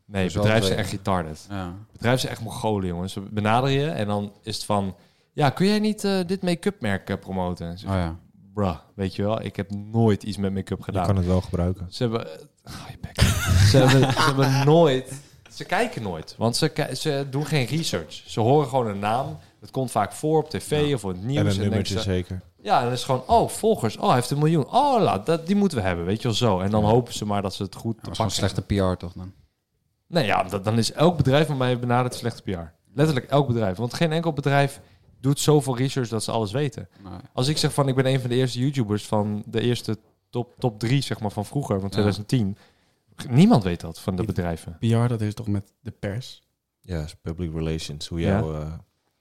Speaker 5: nee
Speaker 7: Dus wel
Speaker 5: bedrijven zijn
Speaker 7: twee.
Speaker 5: echt retarded.
Speaker 7: Ja.
Speaker 5: bedrijf is echt Mongolen, jongens. Ze benaderen je en dan is het van... Ja, kun jij niet eh, dit make-up merk eh, promoten? En ze-
Speaker 7: Oh ja.
Speaker 5: bruh, weet je wel, ik heb nooit iets met make-up
Speaker 8: Je
Speaker 5: gedaan.
Speaker 8: kan het wel gebruiken.
Speaker 5: Ze hebben... eh, oh, je bek. [laughs] ze, hebben, ze hebben nooit... Ze kijken nooit, want ze, ki- ze doen geen research. Ze horen gewoon een naam. Dat komt vaak voor op tv of op het nieuws.
Speaker 8: En een
Speaker 5: denken
Speaker 8: nummertje
Speaker 5: ze-
Speaker 8: zeker.
Speaker 5: ja, en dan is gewoon, oh, volgers. Oh, hij heeft een miljoen. Oh, laat, dat, die moeten we hebben, weet je wel zo. En dan hopen ze maar dat ze het goed
Speaker 7: Dat
Speaker 5: te
Speaker 7: is gewoon
Speaker 5: pakken
Speaker 7: slechte PR toch dan?
Speaker 5: Nou hebben. Nee, ja, dat, dan is elk bedrijf van mij benaderd slechte PR. Letterlijk elk bedrijf. Want geen enkel bedrijf doet zoveel research dat ze alles weten.
Speaker 7: Nou,
Speaker 5: Als ik zeg van ik ben een van de eerste YouTubers van de eerste top, top drie zeg maar, van vroeger, van 2010. Niemand weet dat van de bedrijven.
Speaker 6: PR, dat is toch met de pers?
Speaker 8: Ja, is public relations. Hoe
Speaker 5: Ja.
Speaker 8: jouw eh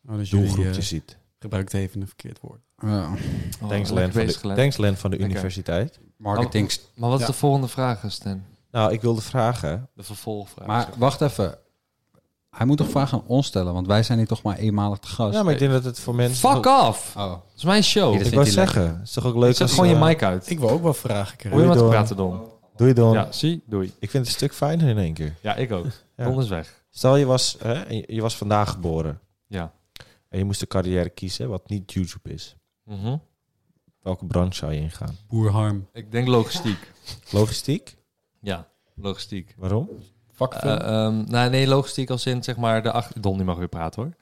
Speaker 6: Oh, dus
Speaker 8: doelgroep
Speaker 6: jullie,
Speaker 8: je
Speaker 6: eh,
Speaker 8: ziet.
Speaker 6: gebruikt even een verkeerd woord.
Speaker 7: ja.
Speaker 8: Thanks,
Speaker 5: Oh,
Speaker 8: Len, van
Speaker 5: lekker
Speaker 8: de,
Speaker 5: bezig, Len.
Speaker 8: thanks, Len, van de
Speaker 5: Lekker.
Speaker 8: universiteit.
Speaker 7: Marketing.
Speaker 5: Maar wat is
Speaker 6: Ja.
Speaker 5: de volgende vraag, Stan?
Speaker 8: Nou, ik wilde vragen.
Speaker 5: De vervolgvraag.
Speaker 7: Maar wacht even. Hij moet toch vragen aan ons stellen, want wij zijn hier toch maar eenmalig te gast.
Speaker 8: Ja, maar ik denk dat het voor mensen...
Speaker 5: Fuck off!
Speaker 7: Oh.
Speaker 5: Dat is mijn show.
Speaker 7: Hier
Speaker 8: Ik
Speaker 7: Vindt
Speaker 8: wou
Speaker 7: hij lekker.
Speaker 8: zeggen, het is toch ook leuk
Speaker 5: Zet
Speaker 8: als...
Speaker 5: gewoon je
Speaker 8: eh,
Speaker 5: mic uit.
Speaker 6: Ik wil ook wel vragen
Speaker 5: Hoor je
Speaker 6: krijgen.
Speaker 8: Doei,
Speaker 5: maar te
Speaker 8: Don.
Speaker 5: praten, Don?
Speaker 8: Doe je dan.
Speaker 5: Ja, zie? Doei.
Speaker 8: Ik vind het een stuk fijner in één keer.
Speaker 5: Ja, ik ook.
Speaker 8: Ja.
Speaker 5: Don is weg.
Speaker 8: Stel, je was, hè, en je- je was vandaag geboren.
Speaker 5: Ja.
Speaker 8: En je moest een carrière kiezen wat niet YouTube is.
Speaker 5: Mhm.
Speaker 8: Welke branche zou je ingaan?
Speaker 6: Boerharm.
Speaker 5: Ik denk logistiek.
Speaker 8: Logistiek?
Speaker 5: Ja, logistiek.
Speaker 8: Waarom?
Speaker 5: Eh, ehm, nou, nee, logistiek als in zeg maar de achter... Don, die mag weer praten hoor.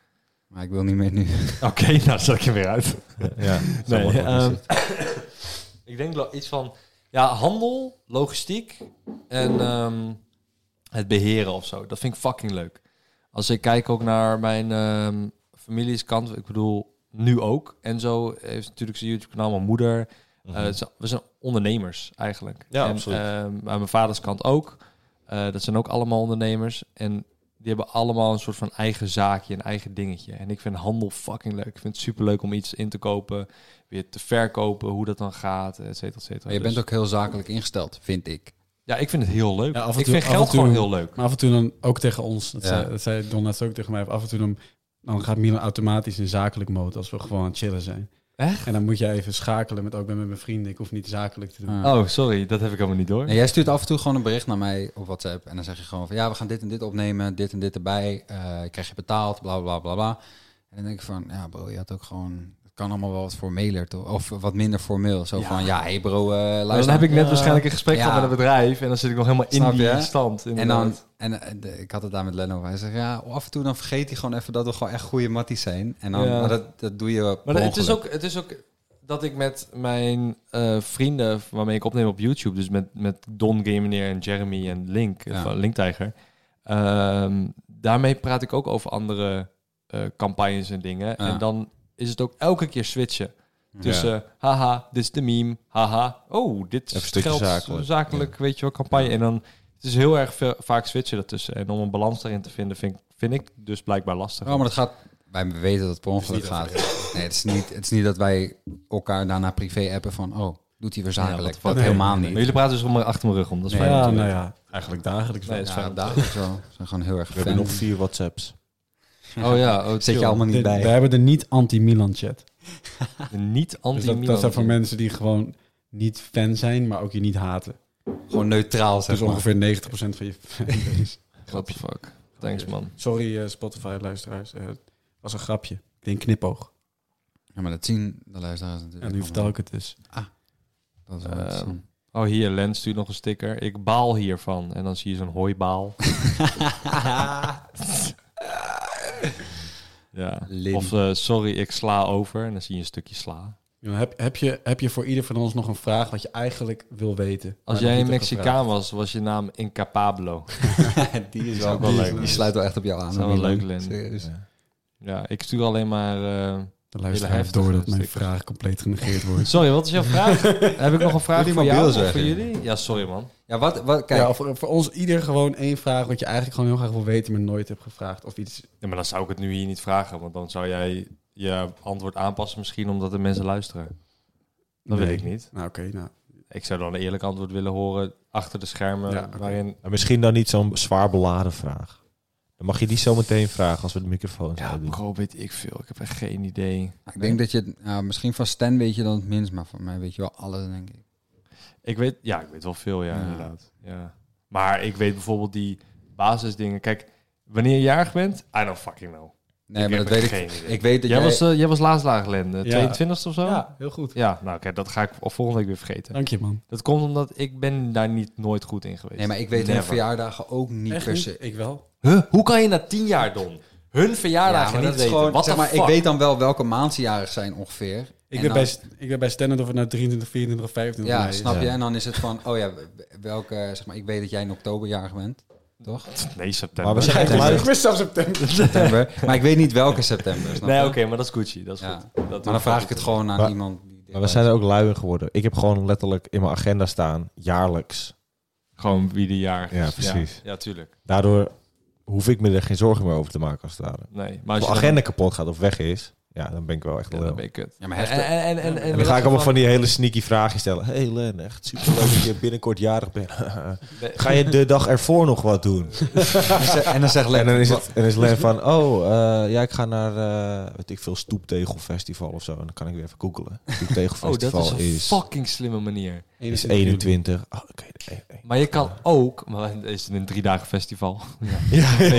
Speaker 7: Maar ik wil niet meer nu.
Speaker 5: [laughs] Oké, nou zet ik hem weer uit.
Speaker 8: Ja,
Speaker 5: Nee,
Speaker 8: nee, eh,
Speaker 5: ehm, [coughs] ik denk lo- iets van ja, handel, logistiek en ehm, het beheren of zo. Dat vind ik fucking leuk. Als ik kijk ook naar mijn ehm families kant, ik bedoel nu ook. En zo heeft natuurlijk zijn YouTube kanaal mijn moeder. Eh, het zijn- we zijn ondernemers eigenlijk.
Speaker 8: Mhm. Ja,
Speaker 5: en,
Speaker 8: absoluut.
Speaker 5: ehm, aan mijn vaders kant ook. Eh, dat zijn ook allemaal ondernemers. En die hebben allemaal een soort van eigen zaakje, een eigen dingetje. En ik vind handel fucking leuk. Ik vind het super leuk om iets in te kopen, weer te verkopen, hoe dat dan gaat, et cetera, et cetera.
Speaker 7: Maar je bent
Speaker 5: Dus-
Speaker 7: ook heel zakelijk ingesteld, vind ik.
Speaker 5: Ja, ik vind het heel leuk.
Speaker 6: Ja, af en
Speaker 5: ik
Speaker 6: toe-
Speaker 5: vind
Speaker 6: af en
Speaker 5: geld
Speaker 6: toe-
Speaker 5: gewoon heel leuk.
Speaker 6: Maar af en toe dan ook tegen ons. Dat,
Speaker 7: Ja.
Speaker 6: zei, dat zei Don laatst ook tegen mij. Af en toe dan, dan gaat Milan automatisch in zakelijk mode als we gewoon aan het chillen zijn.
Speaker 5: Echt?
Speaker 6: En dan moet jij even schakelen met ook ben met mijn vrienden. Ik hoef niet zakelijk te doen.
Speaker 7: Ja.
Speaker 5: Oh, sorry, dat heb ik helemaal niet door.
Speaker 7: Nee, jij stuurt af en toe gewoon een bericht naar mij op WhatsApp. En dan zeg je gewoon van ja, we gaan dit en dit opnemen, dit en dit erbij. eh, krijg je betaald, bla bla bla bla. En dan denk ik van ja, bro, je had ook gewoon. Het kan allemaal wel wat formeler toch? Of wat minder formeel. Zo van ja, hey bro, eh,
Speaker 5: Maar
Speaker 7: luister.
Speaker 5: dan heb ik net waarschijnlijk een gesprek
Speaker 7: Ja.
Speaker 5: gehad met een bedrijf en dan zit ik nog helemaal in
Speaker 7: Snap
Speaker 5: die
Speaker 7: je?
Speaker 5: stand.
Speaker 7: En dan,
Speaker 5: inderdaad.
Speaker 7: en eh, de- ik had het daar met Lenno over. Hij zegt, ja, af en toe dan vergeet hij gewoon even dat we gewoon echt goede matties zijn. En dan,
Speaker 5: Ja.
Speaker 7: maar dat, dat doe je
Speaker 5: Maar
Speaker 7: per
Speaker 5: het is,
Speaker 7: ongeluk.
Speaker 5: ook, het is ook dat ik met mijn eh, vrienden waarmee ik opneem op YouTube, dus met, met Don Gameneer en Jeremy en Link,
Speaker 7: Ja.
Speaker 5: van Link Tiger, ehm, daarmee praat ik ook over andere eh, campagnes en dingen. En dan is het ook elke keer switchen. Tussen, haha, dit is de meme, haha, oh, dit
Speaker 8: Even een
Speaker 5: is
Speaker 8: stukje
Speaker 5: geld, zakelijk,
Speaker 8: zakelijk.
Speaker 5: weet je wel, campagne. En dan, het is heel erg veel, vaak switchen daartussen. En om een balans daarin te vinden, vind, ik- vind ik dus blijkbaar lastig.
Speaker 7: Oh, maar dat gaat... Wij weten dat het per ongeluk
Speaker 6: niet dat
Speaker 7: gaat. Nee, het is, niet, het is niet dat wij elkaar daarna privé appen van... Oh, doet hij weer zakelijk. dat
Speaker 6: nee,
Speaker 7: helemaal
Speaker 5: Maar
Speaker 7: niet.
Speaker 5: jullie praten dus om achter mijn rug om, dat is
Speaker 6: Ja,
Speaker 5: fijn. om te weten.
Speaker 6: nou ja, eigenlijk dagelijks. wel.
Speaker 5: Nee, dat is fijn
Speaker 7: Ja,
Speaker 5: om te weten.
Speaker 7: daar zo. We zijn gewoon heel erg
Speaker 8: We hebben nog
Speaker 7: fan.
Speaker 8: vier WhatsApps.
Speaker 5: Oh ja, oh,
Speaker 7: Zit je allemaal niet
Speaker 6: Dit-
Speaker 7: bij.
Speaker 6: We hebben de niet anti-Milan chat.
Speaker 5: niet
Speaker 6: Dus
Speaker 5: anti
Speaker 6: dat, dat zijn voor mensen die gewoon niet fan zijn, maar ook je niet haten.
Speaker 7: Gewoon neutraal, zeg
Speaker 6: Dus
Speaker 7: maar.
Speaker 6: ongeveer 90% van [laughs] je fanbase.
Speaker 5: What the fuck. Thanks man.
Speaker 6: Sorry eh, Spotify-luisteraars. eh, Het was een grapje. Ik denk knipoog.
Speaker 7: Ja, maar dat zien de luisteraars
Speaker 6: En
Speaker 7: natuurlijk.
Speaker 6: nu vertel
Speaker 7: allemaal.
Speaker 6: ik het dus.
Speaker 7: Dat is wel iets,
Speaker 5: Ehm,
Speaker 7: eh.
Speaker 5: Oh hier, Len stuurt nog een sticker. Ik baal hiervan. En dan zie je zo'n hooibaal.
Speaker 7: [laughs]
Speaker 5: ja.
Speaker 7: Lin.
Speaker 5: Of eh, sorry, ik sla over. En dan zie je een stukje sla.
Speaker 6: Ja, heb, heb, je, heb je voor ieder van ons nog een vraag wat je eigenlijk wil weten?
Speaker 5: Als jij een Mexicaan was, was je naam Incapablo.
Speaker 7: [laughs] die is
Speaker 5: ook wel
Speaker 7: die-
Speaker 5: leuk.
Speaker 7: Die sluit wel echt op jou aan.
Speaker 5: Zou wel
Speaker 7: Milan.
Speaker 5: leuk, Lin.
Speaker 7: Serieus.
Speaker 5: Ja, ik stuur alleen maar... eh,
Speaker 6: Dan
Speaker 5: luisteraar
Speaker 6: luister
Speaker 5: Hele heftige
Speaker 6: door dat mijn
Speaker 5: sticker.
Speaker 6: vraag compleet genegeerd wordt.
Speaker 5: Sorry, wat is jouw vraag? Heb ik nog een vraag
Speaker 7: Jullie
Speaker 5: voor
Speaker 7: mobiel
Speaker 5: jou
Speaker 7: is
Speaker 5: of
Speaker 7: weg,
Speaker 5: voor
Speaker 7: hè?
Speaker 5: jullie? Ja, sorry man.
Speaker 7: Ja, wat, wat, kijk,
Speaker 6: [laughs] Ja, voor, voor ons ieder gewoon één vraag wat je eigenlijk gewoon heel graag wil weten, maar nooit hebt gevraagd. Of iets.
Speaker 5: Ja, maar dan zou ik het nu hier niet vragen. Want dan zou jij je antwoord aanpassen misschien omdat de mensen luisteren. Dat
Speaker 6: Nee.
Speaker 5: weet ik niet.
Speaker 6: Nou oké, nou.
Speaker 5: Ik zou dan een eerlijk antwoord willen horen achter de schermen.
Speaker 6: Ja, oké.
Speaker 5: Waarin.
Speaker 8: Maar misschien dan niet zo'n zwaar beladen vraag. Dan mag je die zo meteen vragen als we de microfoon
Speaker 5: Ja,
Speaker 8: zouden doen.
Speaker 5: bro, weet ik veel. Ik heb echt geen idee.
Speaker 7: ik denk dat je, het- ja, misschien van Stan weet je dan het minst, maar van mij weet je wel alles, denk ik.
Speaker 5: Ik weet, ja, ik weet wel veel, ja,
Speaker 7: Ja.
Speaker 5: inderdaad. Ja. Maar ik weet bijvoorbeeld die basisdingen. Kijk, wanneer je jarig bent, I don't fucking know.
Speaker 7: Nee,
Speaker 5: Ik
Speaker 7: maar
Speaker 5: heb
Speaker 7: dat weet ik.
Speaker 5: echt geen idee.
Speaker 7: Ik weet dat
Speaker 5: Jij
Speaker 7: jij,
Speaker 5: was, eh, jij was laatst laag, Len. De
Speaker 6: Ja.
Speaker 5: 22 of zo?
Speaker 6: Ja, heel goed.
Speaker 5: Ja, nou kijk, dat ga ik volgende week weer vergeten.
Speaker 6: Dank je man.
Speaker 5: Dat komt omdat ik ben daar niet nooit goed in geweest.
Speaker 7: Nee, maar ik weet hun
Speaker 5: Never.
Speaker 7: verjaardagen ook niet per se.
Speaker 6: Ik wel.
Speaker 5: Huh? Hoe kan je na 10 jaar, Don, hun verjaardagen
Speaker 7: maar
Speaker 5: niet
Speaker 7: dat is
Speaker 5: weten?
Speaker 7: gewoon,
Speaker 5: Wat
Speaker 7: zeg maar, ik weet dan wel welke maand ze jarig zijn ongeveer.
Speaker 6: Ik
Speaker 7: En
Speaker 6: ben,
Speaker 7: dan-
Speaker 6: bij, St- ik ben bij Stennet of het nou 23, 24 of 25
Speaker 7: Ja,
Speaker 6: mei is.
Speaker 7: snap je?
Speaker 8: Ja.
Speaker 7: En dan is het van, oh ja, welke, zeg maar, ik weet dat jij in oktober jarig bent. [laughs] toch?
Speaker 5: Nee, september.
Speaker 7: Maar we zijn
Speaker 8: September.
Speaker 6: Ik wist zelfs september.
Speaker 7: september. Maar ik weet niet welke september. snap
Speaker 5: Nee,
Speaker 7: je?
Speaker 5: oké, maar dat is Gucci. Dat is
Speaker 7: Ja.
Speaker 5: goed. Dat
Speaker 7: Maar dan vraag ik het gewoon aan
Speaker 8: Maar-
Speaker 7: iemand. Die
Speaker 8: Maar we zijn er ook lui in geworden. Ik heb gewoon letterlijk in mijn agenda staan, jaarlijks.
Speaker 5: Gewoon wie de jaar
Speaker 8: Ja, precies.
Speaker 5: Ja, tuurlijk.
Speaker 8: Daardoor hoef ik me er geen zorgen meer over te maken als het ware.
Speaker 5: Nee, maar
Speaker 8: Als
Speaker 5: als
Speaker 8: de
Speaker 5: je
Speaker 8: agenda kapot gaat of weg is, ja, dan ben ik wel echt
Speaker 5: Dan,
Speaker 8: lul.
Speaker 5: ja, dan ben je kut.
Speaker 7: Ja, maar
Speaker 5: en,
Speaker 7: hechten-
Speaker 5: en, en, en, en
Speaker 8: En dan ga ik allemaal van die hele sneaky vragen stellen. Hé hey Len, echt superleuk dat je binnenkort jarig bent. [laughs] Ga je de dag ervoor nog wat doen?
Speaker 7: En dan ze- En dan zegt
Speaker 8: En dan is,
Speaker 7: Len,
Speaker 8: het, en is Len van, oh, eh, ja, ik ga naar, eh, weet ik veel, Stoeptegelfestival of zo. En dan kan ik weer even googelen.
Speaker 5: Oh, dat
Speaker 8: Stoeptegelfestival
Speaker 5: is een
Speaker 8: is, is,
Speaker 5: fucking slimme manier.
Speaker 8: 21. Oh, oké. nee, nee.
Speaker 5: Maar je kan ook, maar het is een drie dagen festival. [laughs]
Speaker 8: Ja,
Speaker 5: Nee,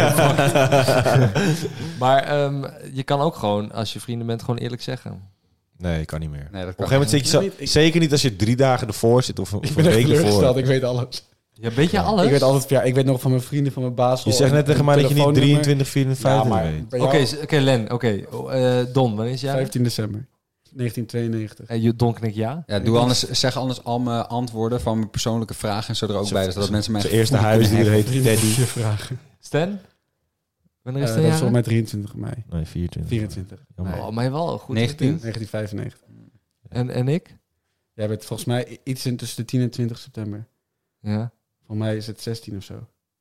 Speaker 5: fuck. maar ehm, je kan ook gewoon, als je vrienden bent, gewoon eerlijk zeggen.
Speaker 8: [laughs] Nee, ik kan niet meer.
Speaker 7: Nee, dat
Speaker 8: Op
Speaker 7: kan
Speaker 8: een gegeven moment zit je zo... Zeker niet als je drie dagen ervoor zit of, of
Speaker 6: Ik
Speaker 8: een
Speaker 6: ben echt
Speaker 8: week ervoor.
Speaker 6: teleurgesteld, ik weet alles.
Speaker 5: Ja, weet je alles?
Speaker 6: Ik weet altijd, ja, ik weet nog van mijn vrienden, van mijn baas.
Speaker 8: Je zegt net tegen mij dat je niet 23, 54
Speaker 6: maar
Speaker 8: weet.
Speaker 6: bij
Speaker 5: Oké,
Speaker 6: jou-
Speaker 5: s- oké, Len, oké. Oh, eh, Don, wanneer is jij?
Speaker 6: 15 december 1992.
Speaker 5: Eh, je- Don knikt ja.
Speaker 7: Ja, doe anders, zeg anders al mijn antwoorden van mijn persoonlijke vragen en zo er ook bij. Zodat mensen mij
Speaker 8: Zijn eerste
Speaker 6: [laughs]
Speaker 8: huisdier heet
Speaker 6: Vrienden
Speaker 8: Teddy.
Speaker 6: je vragen.
Speaker 5: Stan? Wanneer is
Speaker 6: Eh,
Speaker 5: hij?
Speaker 6: dat is volgens mij 23 mei.
Speaker 8: Nee, 24.
Speaker 6: 24.
Speaker 8: Jammer.
Speaker 5: Oh, maar wel een goed.
Speaker 7: 19.
Speaker 6: 1995.
Speaker 5: En, en ik?
Speaker 6: Jij bent volgens mij iets in tussen de 10 en 20 september.
Speaker 5: Ja?
Speaker 6: Voor mij is het 16 of zo.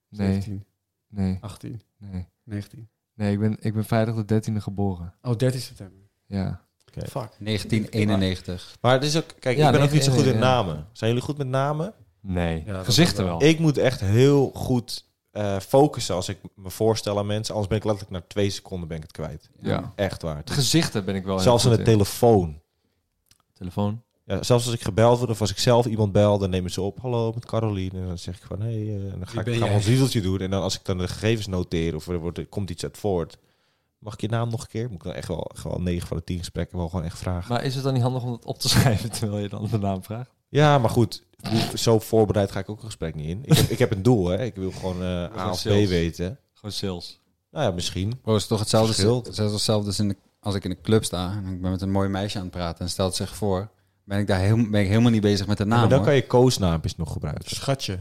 Speaker 5: Nee,
Speaker 6: 17,
Speaker 5: nee,
Speaker 6: 18,
Speaker 5: nee.
Speaker 6: 19.
Speaker 5: Nee, ik ben, ik ben vrijdag de 13e geboren.
Speaker 6: Oh, 13 september.
Speaker 5: Ja.
Speaker 6: Fuck.
Speaker 7: 1991.
Speaker 8: Maar het is ook... Kijk,
Speaker 5: Ja,
Speaker 8: ik ben
Speaker 5: nee,
Speaker 8: ook niet zo
Speaker 5: nee,
Speaker 8: goed
Speaker 5: nee,
Speaker 8: in
Speaker 5: ja.
Speaker 8: namen. Zijn jullie goed met namen?
Speaker 5: Nee.
Speaker 6: Ja, dat
Speaker 5: Gezichten wel.
Speaker 8: Ik moet echt heel goed eh, focussen als ik me voorstel aan mensen. Anders ben ik letterlijk na twee seconden ben ik het kwijt.
Speaker 5: Ja.
Speaker 8: Echt waar.
Speaker 5: Gezichten ben ik wel. heel
Speaker 8: Zelfs aan
Speaker 5: goed
Speaker 8: de telefoon.
Speaker 5: telefoon.
Speaker 8: Ja, zelfs als ik gebeld word of als ik zelf iemand bel, dan nemen ze op. Hallo, met Caroline. En dan zeg ik van, hé, hey, eh, en dan ga
Speaker 6: Wie
Speaker 8: ik
Speaker 6: ben
Speaker 8: gaan we
Speaker 6: jij?
Speaker 8: ons riedeltje doen. En dan als ik dan de gegevens noteer of er, wordt, er komt iets uit voort. Mag ik je naam nog een keer? Moet ik dan echt wel, gewoon 9 van de 10 gesprekken wel gewoon echt vragen.
Speaker 5: Maar is het dan niet handig om dat op te [laughs] schrijven terwijl je dan de naam vraagt?
Speaker 8: Ja, maar goed. hoe- Zo voorbereid ga ik ook een gesprek niet in. Ik heb, ik heb een doel, hè. Ik wil gewoon eh, A of B
Speaker 5: sales.
Speaker 8: weten.
Speaker 5: Gewoon sales.
Speaker 8: Nou ja, misschien.
Speaker 7: Bro, het is toch hetzelfde,
Speaker 8: Verschil.
Speaker 7: het is hetzelfde als, in de- als ik in de club sta en ik ben met een mooi meisje aan het praten en stelt zich voor, ben ik daar heel, ben ik helemaal niet bezig met de naam.
Speaker 8: maar dan
Speaker 7: hoor.
Speaker 8: kan je koosnaampjes nog gebruiken.
Speaker 6: Schatje.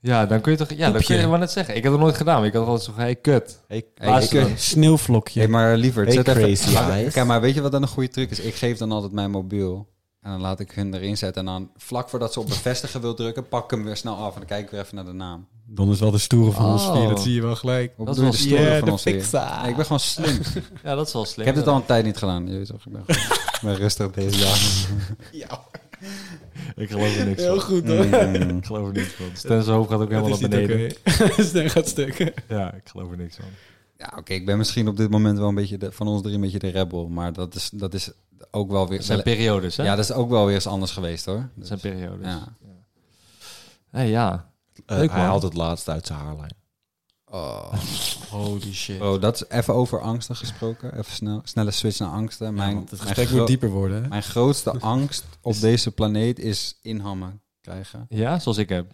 Speaker 5: Ja, dan kun je toch... Ja, dan kun je
Speaker 6: Poepje.
Speaker 5: maar net zeggen. Ik heb het nooit gedaan. maar Ik had altijd zo... Hey, kut.
Speaker 8: Hey,
Speaker 7: Hey,
Speaker 5: Laatste
Speaker 7: ik-
Speaker 5: dan.
Speaker 6: Sneeuwvlokje.
Speaker 7: Hey, maar liever,
Speaker 8: Hey,
Speaker 7: zet
Speaker 8: crazy
Speaker 7: even... Ah,
Speaker 8: eyes.
Speaker 7: Kijk, maar weet je wat dan een goede truc is? Ik geef dan altijd mijn mobiel en dan laat ik hun erin zetten. En dan vlak voordat ze op bevestigen wil drukken, pak ik hem weer snel af en dan kijk ik weer even naar de naam.
Speaker 6: Don is wel de stoere van ons
Speaker 5: Oh.
Speaker 6: vier, dat zie je wel gelijk. [laughs]
Speaker 7: Hoe
Speaker 5: Dat
Speaker 7: bedoel je
Speaker 5: was-
Speaker 7: de story
Speaker 6: Yeah,
Speaker 7: van
Speaker 6: de
Speaker 7: ons weer?
Speaker 6: pizza.
Speaker 7: Nee, ik ben gewoon slim.
Speaker 5: Ja, dat is wel slim.
Speaker 7: ik heb dit al een tijd niet gedaan. Je weet toch, ik ben, gewoon- ik ben rustig deze dagen.
Speaker 5: Ik geloof er niks
Speaker 6: Heel
Speaker 5: van.
Speaker 6: goed hoor.
Speaker 5: Ik geloof er niks van. Stan's hoofd gaat ook
Speaker 6: Dat
Speaker 5: helemaal
Speaker 6: is
Speaker 5: naar
Speaker 6: niet
Speaker 5: beneden.
Speaker 6: oké. Stan gaat stukken.
Speaker 5: Ja, ik geloof er niks van.
Speaker 7: Ja, oké, ik ben misschien op dit moment wel een beetje de, van ons drie een beetje de rebel. Maar dat is, dat is ook wel weer...
Speaker 5: Het zijn periodes, hè?
Speaker 7: ja, dat is ook wel weer eens anders geweest hoor. Dus-
Speaker 5: dat zijn periodes.
Speaker 7: Ja.
Speaker 5: Hey, ja.
Speaker 8: Eh,
Speaker 5: Leuk,
Speaker 8: hij
Speaker 5: man.
Speaker 8: haalt het laatst uit zijn haarlijn.
Speaker 7: Oh.
Speaker 6: Holy shit.
Speaker 7: Bro, dat is even over angsten gesproken. Even snel, snelle switch naar angsten. Mijn,
Speaker 6: het
Speaker 7: mijn
Speaker 6: gesprek
Speaker 7: gro-
Speaker 6: moet dieper worden. hè?
Speaker 7: Mijn
Speaker 5: [laughs]
Speaker 7: grootste angst op deze planeet is inhammen krijgen.
Speaker 5: Ja, zoals ik heb.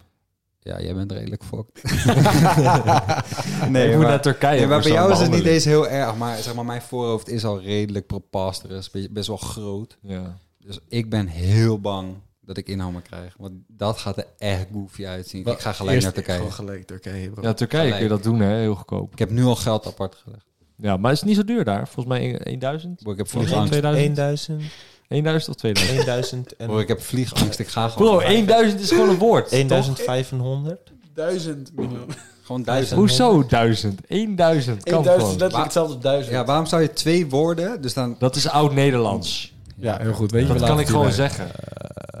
Speaker 7: Ja, jij bent redelijk
Speaker 5: [laughs]
Speaker 7: fucked.
Speaker 5: ik moet naar Turkije.
Speaker 7: Nee, maar
Speaker 5: voor
Speaker 7: bij jou
Speaker 5: zo'n
Speaker 7: is het niet
Speaker 5: behandeling.
Speaker 7: eens heel erg. Maar zeg maar, mijn voorhoofd is al redelijk preposterous. be- Best wel groot.
Speaker 5: Ja.
Speaker 7: Dus ik ben heel bang dat ik inhammen krijg. Want dat gaat er echt goofy uitzien. Ik ga gelijk
Speaker 6: Eerst-
Speaker 7: naar Turkije.
Speaker 6: Gewoon gelijk Turkije, bro.
Speaker 5: ja, Turkije kun je dat doen, hè? Heel goedkoop.
Speaker 7: Ik heb nu al geld apart gelegd.
Speaker 5: Ja, maar het is niet zo duur daar. Volgens mij 1000.
Speaker 7: Bro, ik heb
Speaker 5: Volgens mij
Speaker 7: vliegangst.
Speaker 5: 2000.
Speaker 8: 1000,
Speaker 5: 1000 of 2000.
Speaker 8: 1000 en
Speaker 7: Bro, ik heb vliegangst. Ik ga gewoon.
Speaker 5: Bro, 1000 is gewoon een woord.
Speaker 8: 1500.
Speaker 6: Duizend miljoen.
Speaker 7: Gewoon duizend.
Speaker 5: Hoezo 1000? 1000 kan gewoon.
Speaker 7: Waar-
Speaker 6: hetzelfde als duizend.
Speaker 7: Ja, waarom zou je twee woorden? Dus dan.
Speaker 5: Dat is oud-Nederlands.
Speaker 6: Ja, heel goed. Weet je,
Speaker 5: Dat
Speaker 6: we
Speaker 5: kan
Speaker 6: laten
Speaker 5: ik gewoon
Speaker 6: het hierbij.
Speaker 5: zeggen.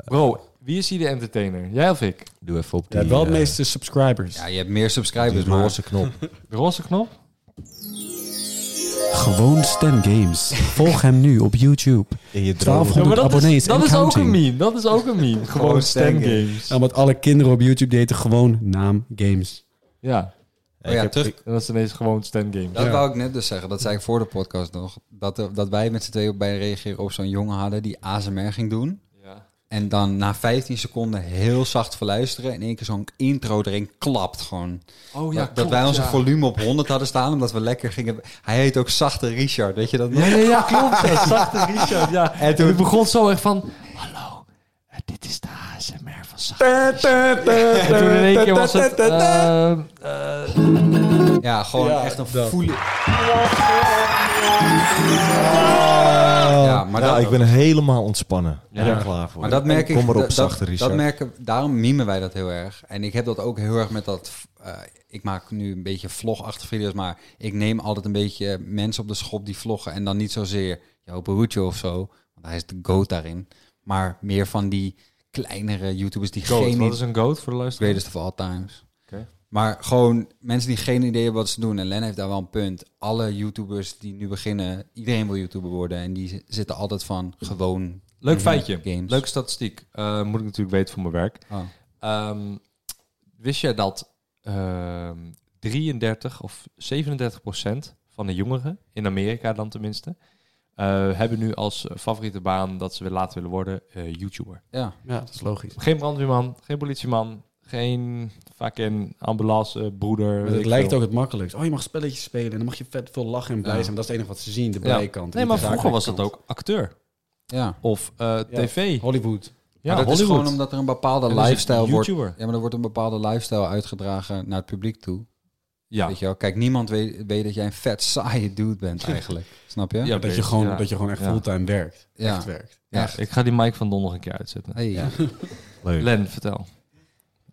Speaker 5: Bro, wie is hier de entertainer? Jij of ik?
Speaker 8: Doe even op
Speaker 6: Je hebt wel de meeste subscribers.
Speaker 7: Ja, je hebt meer subscribers.
Speaker 8: die
Speaker 7: maar-
Speaker 8: roze knop.
Speaker 5: De roze knop?
Speaker 6: Gewoon Stan
Speaker 7: [laughs]
Speaker 6: Games. Volg hem nu op YouTube.
Speaker 8: In je droom.
Speaker 6: 1200
Speaker 5: dat is,
Speaker 6: abonnees
Speaker 5: dat
Speaker 6: en
Speaker 5: is ook een
Speaker 6: counting.
Speaker 5: meme. Dat is ook een meme. [laughs] Gewoon Stan Games.
Speaker 6: Ja, want alle kinderen op YouTube die heten gewoon naam Games.
Speaker 5: Ja,
Speaker 7: Oh ja,
Speaker 8: Ik heb-
Speaker 7: terug-
Speaker 8: ik-
Speaker 5: en dat is ineens gewoon Stan Games.
Speaker 7: Dat wou ik net dus zeggen. Dat zei ik voor de podcast nog. Dat, er- dat wij met z'n tweeën bij reageren op zo'n jongen hadden die ASMR ging doen.
Speaker 5: Ja.
Speaker 7: En dan na 15 seconden heel zacht verluisteren. En in één keer zo'n intro erin klapt gewoon.
Speaker 5: Oh
Speaker 7: dat, dat wij onze volume op 100 hadden staan. Omdat we lekker gingen. Hij heet ook Zachte Richard. Weet je dat
Speaker 5: [laughs]
Speaker 7: nog?
Speaker 5: Ja, ja, ja, klopt. Ja, zachte Richard. Ja. En
Speaker 7: En
Speaker 5: toen
Speaker 7: toen-
Speaker 5: begon zo echt van... Hallo, Dit is de ASMR van Zachtjes. En toen in één keer was het... ehm, eh,
Speaker 7: Ja, gewoon echt een
Speaker 6: dat.
Speaker 7: voelen. Ja, maar
Speaker 8: nou,
Speaker 7: dat,
Speaker 8: ik ben helemaal ontspannen.
Speaker 5: Ja.
Speaker 8: En er klaar voor.
Speaker 7: maar dat merk ik.
Speaker 8: Kom maar op,
Speaker 7: dat,
Speaker 8: zachte
Speaker 7: dat-
Speaker 8: Richard.
Speaker 7: dat merken, daarom mimen wij dat heel erg. En ik heb dat ook heel erg met dat. eh, ik maak nu een beetje vlogachtige video's, maar ik neem altijd een beetje mensen op de schop die vloggen. En dan niet zozeer jouw Peruccio of zo, want hij is de goat daarin. Maar meer van die kleinere YouTubers die
Speaker 5: goat.
Speaker 7: geen
Speaker 5: Wat is een goat voor de luisteraar?
Speaker 7: Greatest of all times.
Speaker 5: Oké.
Speaker 7: Maar gewoon mensen die geen idee hebben wat ze doen. En Len heeft daar wel een punt. Alle YouTubers die nu beginnen, iedereen wil YouTuber worden. En die zi- zitten altijd van gewoon.
Speaker 5: Leuk
Speaker 7: Mhm.
Speaker 5: feitje.
Speaker 7: Games.
Speaker 5: Leuke statistiek. Eh, moet ik natuurlijk weten voor mijn werk.
Speaker 7: Oh.
Speaker 5: Ehm, wist je dat ehm, 33 of 37 procent van de jongeren, in Amerika dan tenminste, eh, hebben nu als favoriete baan dat ze weer later willen worden eh, YouTuber?
Speaker 7: Ja,
Speaker 6: Ja, dat is logisch.
Speaker 5: Geen brandweerman, geen politieman, geen fucking ambulancebroeder.
Speaker 6: Maar
Speaker 5: weet
Speaker 6: het
Speaker 5: ik
Speaker 6: lijkt
Speaker 5: veel.
Speaker 6: ook het makkelijkst. Oh, je mag spelletjes spelen en dan mag je vet veel lachen en blij
Speaker 7: Ja.
Speaker 6: zijn. Dat is het enige wat ze zien, de
Speaker 5: Ja.
Speaker 6: bijkant.
Speaker 5: Nee,
Speaker 6: niet
Speaker 5: maar
Speaker 6: de
Speaker 5: vroeger was dat
Speaker 6: zakelijke
Speaker 5: ook acteur
Speaker 7: ja.
Speaker 5: of eh,
Speaker 6: Ja.
Speaker 5: tv.
Speaker 6: kant. Hollywood.
Speaker 5: Ja,
Speaker 7: maar dat is
Speaker 5: Hollywood.
Speaker 7: gewoon omdat er een bepaalde
Speaker 5: En dan is het
Speaker 7: lifestyle wordt.
Speaker 5: YouTuber.
Speaker 7: Ja, maar er wordt een bepaalde lifestyle uitgedragen naar het publiek toe.
Speaker 5: Ja,
Speaker 7: Weet je wel? Kijk, niemand weet, weet dat jij een vet saaie dude
Speaker 5: [laughs]
Speaker 7: bent eigenlijk. Snap je?
Speaker 5: Ja,
Speaker 7: Ja.
Speaker 6: Dat je
Speaker 5: precies.
Speaker 6: gewoon,
Speaker 5: Ja.
Speaker 6: dat je gewoon echt
Speaker 5: Ja.
Speaker 6: fulltime werkt.
Speaker 7: Ja.
Speaker 6: Echt werkt.
Speaker 7: Echt.
Speaker 5: Ik ga die mic van Don nog een keer uitzetten.
Speaker 7: Hey.
Speaker 8: Leuk.
Speaker 5: Len, vertel.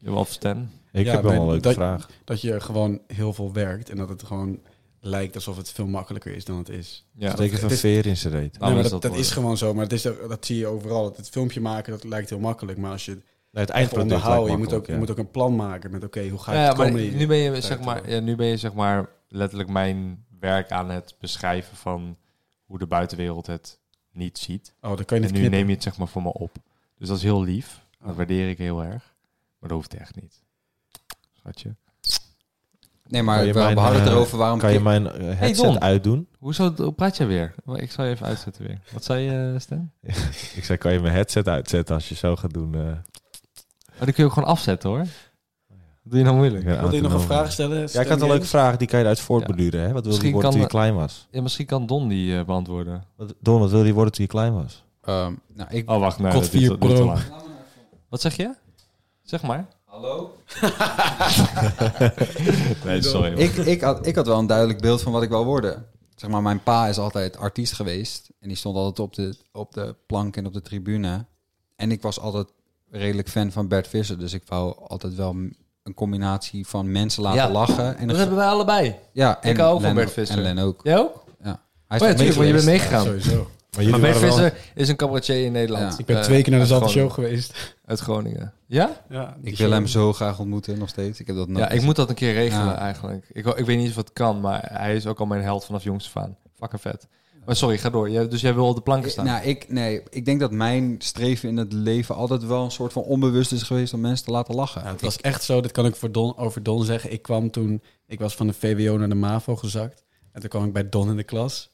Speaker 5: Of Stan.
Speaker 8: ik
Speaker 6: Ja,
Speaker 8: heb wel
Speaker 6: nee,
Speaker 8: een leuke
Speaker 6: dat-
Speaker 8: vraag.
Speaker 6: Dat je gewoon heel veel werkt en dat het gewoon lijkt alsof het veel makkelijker is dan het is.
Speaker 5: Ja,
Speaker 8: Steek even een
Speaker 6: is-
Speaker 8: veer in zijn reet.
Speaker 5: Nou,
Speaker 6: nee, maar
Speaker 5: is
Speaker 6: dat,
Speaker 5: dat
Speaker 6: dat is
Speaker 5: wel-
Speaker 6: gewoon zo. Maar het is, dat zie je overal. Dat het filmpje maken, dat lijkt heel makkelijk. Maar als je het
Speaker 8: Nee, het
Speaker 6: echt
Speaker 8: eindproduct
Speaker 6: onderhouden, je
Speaker 8: lijkt
Speaker 6: moet, ook, je moet
Speaker 8: makkelijk,
Speaker 6: ook een plan maken met oké, hoe ga
Speaker 5: Ja,
Speaker 6: ik het
Speaker 5: maar
Speaker 6: komen
Speaker 5: nu ben je zeg maar, ja, nu ben je zeg maar letterlijk mijn werk aan het beschrijven van hoe de buitenwereld het niet ziet.
Speaker 6: Oh, dan kan je
Speaker 5: En
Speaker 6: het
Speaker 5: nu
Speaker 6: knippen. Oh.
Speaker 5: neem oh, je het zeg maar voor me op. Dus dat is heel lief. Dat waardeer ik heel erg. Maar dat hoeft echt niet. Schatje.
Speaker 7: Nee,
Speaker 8: Kan
Speaker 7: maar we,
Speaker 8: je mijn,
Speaker 7: we hadden het
Speaker 8: eh,
Speaker 7: erover waarom...
Speaker 8: Kan je
Speaker 7: ki-
Speaker 8: mijn eh, headset
Speaker 5: Don.
Speaker 8: uitdoen?
Speaker 5: Hoezo hoe praat jij weer? Ik zal je even uitzetten weer. Wat zei je, Stan?
Speaker 8: Ik zei, kan je mijn headset uitzetten als je zo gaat doen? eh,
Speaker 5: Oh, die kun je ook gewoon afzetten hoor. Wat doe je nou
Speaker 8: ik
Speaker 5: moeilijk?
Speaker 8: ben
Speaker 6: Wilde je nog een
Speaker 8: autonoom.
Speaker 6: vraag stellen?
Speaker 8: Ja, ik had een leuke vraag, die kan je uit voortbeduren. Hè? Wat wilde
Speaker 5: Misschien
Speaker 8: je worden
Speaker 5: kan
Speaker 8: toen je klein was?
Speaker 5: Ja, misschien kan Don die eh, beantwoorden.
Speaker 8: Wat, Don, wat wilde je worden toen je klein
Speaker 6: [laughs]
Speaker 8: was?
Speaker 7: Ehm, nou, ik,
Speaker 5: Oh, wacht. Nee,
Speaker 6: Kot
Speaker 5: dat duurt-
Speaker 6: vier
Speaker 5: dat duurt te
Speaker 6: pro.
Speaker 5: lang. Wat zeg je? Zeg maar. Hallo? nee, sorry.
Speaker 7: ik, ik, had, ik had wel een duidelijk beeld van wat ik wil worden. Zeg maar, mijn pa is altijd artiest geweest. En die stond altijd op de, op de plank en op de tribune. En ik was altijd redelijk fan van Bert Visser. Dus ik wou altijd wel m- een combinatie van mensen laten
Speaker 5: Ja.
Speaker 7: lachen. En
Speaker 5: Dat hebben wij allebei.
Speaker 7: ja, en
Speaker 5: ik hou ook van
Speaker 7: Len-
Speaker 5: Bert Visser.
Speaker 7: En Len ook.
Speaker 5: Jij ook? Oh
Speaker 7: Ja. Hij
Speaker 5: ja,
Speaker 7: toch mee
Speaker 5: natuurlijk, want je bent
Speaker 7: geweest?
Speaker 5: meegegaan.
Speaker 6: Sowieso.
Speaker 5: maar Bert
Speaker 8: waren wel-
Speaker 5: Visser is een cabaretier in Nederland.
Speaker 7: Ja.
Speaker 6: Ik ben
Speaker 5: Eh,
Speaker 6: twee keer naar
Speaker 5: uit
Speaker 6: dezelfde
Speaker 5: Groningen-
Speaker 6: show geweest.
Speaker 5: Uit Groningen. Ja?
Speaker 6: Ja,
Speaker 7: Ik wil hem zo graag ontmoeten nog steeds. Ik heb dat nooit.
Speaker 5: Ja, ik moet dat een keer regelen
Speaker 7: Ja.
Speaker 5: eigenlijk. Ik, ho- ik weet niet of het kan, maar hij is ook al mijn held vanaf jongs af aan. Fucking vet. Maar sorry, ga door. Jij- dus jij wil op de planken staan.
Speaker 7: Nou, ik, nee, ik denk dat mijn streven in het leven altijd wel een soort van onbewust is geweest om mensen te laten lachen.
Speaker 6: Ja, het was echt zo, dat kan ik voor Don, over Don zeggen. Ik kwam toen, ik was van de VWO naar de MAVO gezakt. En toen kwam ik bij Don in de klas.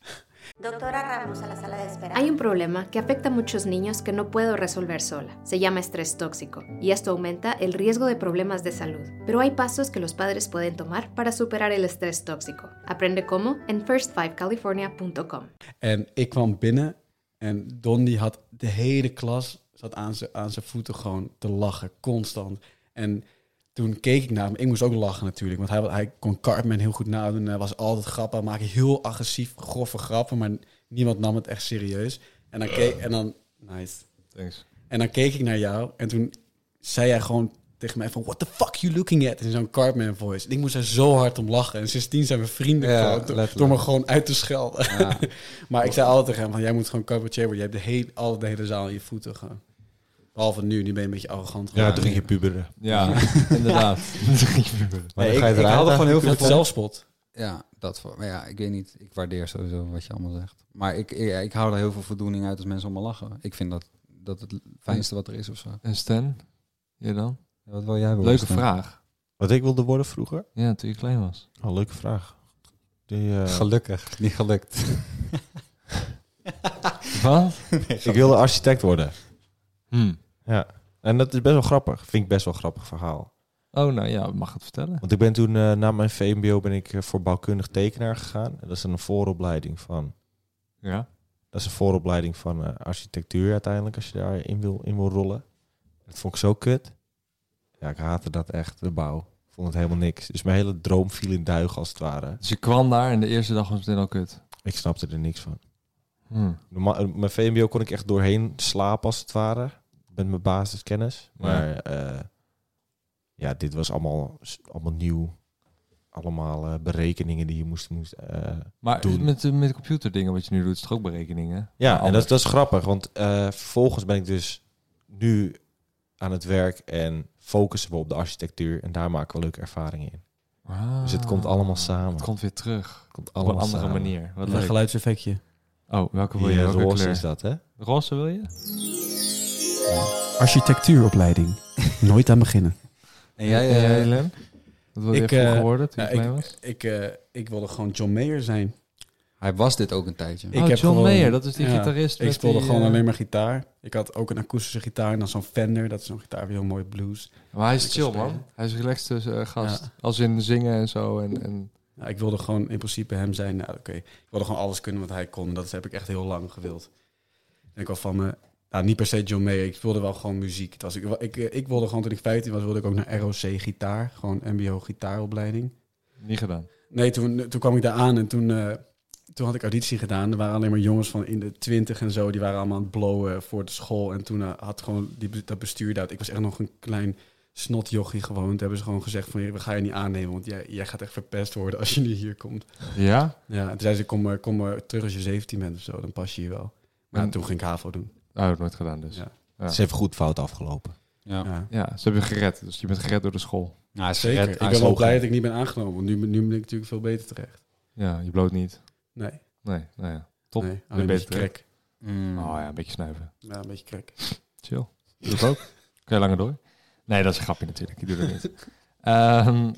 Speaker 2: Doctora Ramos a la sala de espera.
Speaker 9: Hay un problema que afecta a muchos niños que no puedo resolver sola. Se llama estrés tóxico y esto aumenta el riesgo de problemas de salud. Pero hay pasos que los padres pueden tomar para superar el estrés tóxico. Aprende cómo en first5california.com.
Speaker 6: En ik kwam binnen en Don die had de hele klas zat aan zijn aan zijn voeten gewoon te lachen, constant. En toen keek ik naar hem. Ik moest ook lachen natuurlijk, want hij, hij kon Cartman heel goed nadoen. Hij was altijd grappen, maakte heel agressief, grove grappen, maar niemand nam het echt serieus. En dan keek en dan nice.
Speaker 5: Thanks.
Speaker 6: En dan keek ik naar jou en toen zei jij gewoon tegen mij van what the fuck you looking at in zo'n Cartman voice. En ik moest er zo hard om lachen. En sindsdien zijn we vrienden
Speaker 7: Ja,
Speaker 6: geworden door-
Speaker 7: letterlijk.
Speaker 6: door me gewoon uit te schelden. maar ik zei altijd tegen hem van jij moet gewoon cabaretier worden. Je hebt de hele, altijd de hele zaal aan je voeten gaan. Behalve nu, nu ben je een beetje arrogant.
Speaker 8: Ja,
Speaker 6: geworden.
Speaker 8: toen ging je puberen.
Speaker 7: [laughs]
Speaker 5: Ja, [laughs] inderdaad.
Speaker 8: Maar
Speaker 7: Nee,
Speaker 8: dan ga je
Speaker 7: ik, ik
Speaker 8: eruit.
Speaker 7: haalde
Speaker 8: hè?
Speaker 7: gewoon heel veel
Speaker 6: Het
Speaker 7: van.
Speaker 6: zelfspot.
Speaker 7: Ja, dat voor. Maar ja, ik weet niet. Ik waardeer sowieso wat je allemaal zegt. Maar ik, ik, ik hou er heel veel voldoening uit als mensen om me lachen. Ik vind dat, dat het fijnste wat er is of zo.
Speaker 5: En Stan? Jij dan?
Speaker 7: Ja, Wat wil jij worden?
Speaker 5: Leuke
Speaker 7: Stan?
Speaker 5: vraag.
Speaker 8: Wat ik wilde worden vroeger?
Speaker 5: Ja, toen je klein was.
Speaker 8: Oh, leuke vraag. Die, eh,
Speaker 7: Gelukkig. Niet gelukt.
Speaker 5: Wat?
Speaker 8: ik wilde architect worden.
Speaker 5: Hm.
Speaker 8: En dat is best wel grappig. Vind ik best wel een grappig verhaal.
Speaker 5: Oh, nou ja, mag het vertellen.
Speaker 8: Want ik ben toen eh, na mijn VMBO ben ik eh, voor bouwkundig tekenaar gegaan. En dat is een vooropleiding van.
Speaker 5: Ja.
Speaker 8: Dat is een vooropleiding van eh, architectuur uiteindelijk, als je daarin wil, in wil rollen. Dat vond ik zo kut. Ja, ik haatte dat echt, de bouw. Ik vond het helemaal niks. Dus mijn hele droom viel in duigen als het ware.
Speaker 5: Dus je kwam daar en de eerste dag was het meteen al kut.
Speaker 8: Ik snapte er niks van.
Speaker 5: Hm.
Speaker 8: Normaal, eh, mijn VMBO kon ik echt doorheen slapen als het ware. Met mijn basiskennis. Maar ja, ja dit was allemaal, allemaal nieuw. Allemaal eh, berekeningen die je moest... moest eh,
Speaker 5: Maar
Speaker 8: Doen.
Speaker 5: met, de- met computerdingen wat je nu doet, is het ook berekeningen?
Speaker 8: Ja, en
Speaker 5: anders.
Speaker 8: dat, dat is grappig, want eh, vervolgens ben ik dus nu aan het werk en focussen we op de architectuur en daar maken we leuke ervaringen in.
Speaker 5: Ah.
Speaker 8: Dus het komt allemaal samen.
Speaker 5: Het komt weer terug.
Speaker 8: komt
Speaker 5: Op een
Speaker 8: allemaal
Speaker 5: andere
Speaker 8: samen.
Speaker 5: manier. Wat
Speaker 6: Met een
Speaker 5: leuk.
Speaker 6: geluidseffectje.
Speaker 5: Oh, welke wil je?
Speaker 8: Hier,
Speaker 5: Welke
Speaker 8: roze
Speaker 5: kleur?
Speaker 8: is dat, hè?
Speaker 5: Roze wil je?
Speaker 6: Architectuuropleiding. [laughs] Nooit aan beginnen.
Speaker 7: En jij,
Speaker 5: En jij,
Speaker 7: eh,
Speaker 5: Lem? Wat wil je
Speaker 6: ik,
Speaker 5: vroeger
Speaker 6: eh,
Speaker 5: worden toen
Speaker 6: ja,
Speaker 5: je klein was?
Speaker 6: Ik, eh, ik wilde gewoon John Mayer zijn.
Speaker 7: hij was dit ook een tijdje.
Speaker 6: Ik
Speaker 5: oh,
Speaker 6: heb
Speaker 5: John
Speaker 6: gewoon-
Speaker 5: Mayer, dat is die
Speaker 6: Ja,
Speaker 5: gitarist.
Speaker 6: Ik
Speaker 5: met
Speaker 6: speelde
Speaker 5: die,
Speaker 6: gewoon
Speaker 5: eh,
Speaker 6: alleen maar gitaar. Ik had ook een akoestische gitaar en dan zo'n Fender. Dat is zo'n gitaar, weer heel mooi blues.
Speaker 5: Maar hij is
Speaker 6: Ik
Speaker 5: chill,
Speaker 6: spelen.
Speaker 5: man. Hij is relaxed dus, eh, gast.
Speaker 6: Ja.
Speaker 5: Als in zingen en zo. En, en...
Speaker 6: Ja, Nou, ik wilde gewoon in principe hem zijn. Nou, oké. Ik wilde gewoon alles kunnen wat hij kon. Dat heb ik echt heel lang gewild. En ik was van, eh, nou, niet per se John Mayer. Ik speelde wel gewoon muziek. Het was, ik, ik, eh, ik wilde gewoon, toen ik 15 was, wilde ik ook naar ROC gitaar. Gewoon mbo gitaaropleiding.
Speaker 5: Niet gedaan.
Speaker 6: Nee, toen, toen kwam ik daar aan en toen, eh, toen had ik auditie gedaan. Er waren alleen maar jongens van in de twintig en zo. Die waren allemaal aan het blowen voor de school. En toen eh, had gewoon die, dat bestuur daar... Ik was echt nog een klein snotjochie gewoon. Toen hebben ze gewoon gezegd van... We gaan je niet aannemen, want jij, jij gaat echt verpest worden als je nu hier komt.
Speaker 5: Ja?
Speaker 6: Ja, en toen zei ze, kom maar, kom maar terug als je 17 bent of zo. Dan pas je hier wel. Maar
Speaker 5: En-
Speaker 6: toen ging ik HAVO doen.
Speaker 5: Oh, dat nooit gedaan dus. Ja.
Speaker 6: Ja.
Speaker 8: Het is even goed fout afgelopen.
Speaker 7: Ja.
Speaker 6: Ja.
Speaker 5: ze hebben je gered. Dus je bent gered door de school.
Speaker 7: Nou, hij is
Speaker 6: Zeker.
Speaker 7: gered. Hij
Speaker 6: ik
Speaker 7: is
Speaker 6: ben wel
Speaker 7: hoog.
Speaker 6: blij dat ik niet ben aangenomen. Want nu, ben- nu ben ik natuurlijk veel beter terecht.
Speaker 5: Ja, je bloot niet.
Speaker 6: Nee,
Speaker 5: Nee, nou ja. Top.
Speaker 6: nee.
Speaker 5: Ben je
Speaker 6: Alleen een beetje
Speaker 5: beter terecht?
Speaker 6: krek.
Speaker 7: Mm.
Speaker 5: Oh ja, een beetje snuiven.
Speaker 6: Ja, een beetje krek.
Speaker 5: Chill. Doe ik ook. Kun je langer door? Nee, dat is een grapje natuurlijk. Ik doe dat niet. Ehm,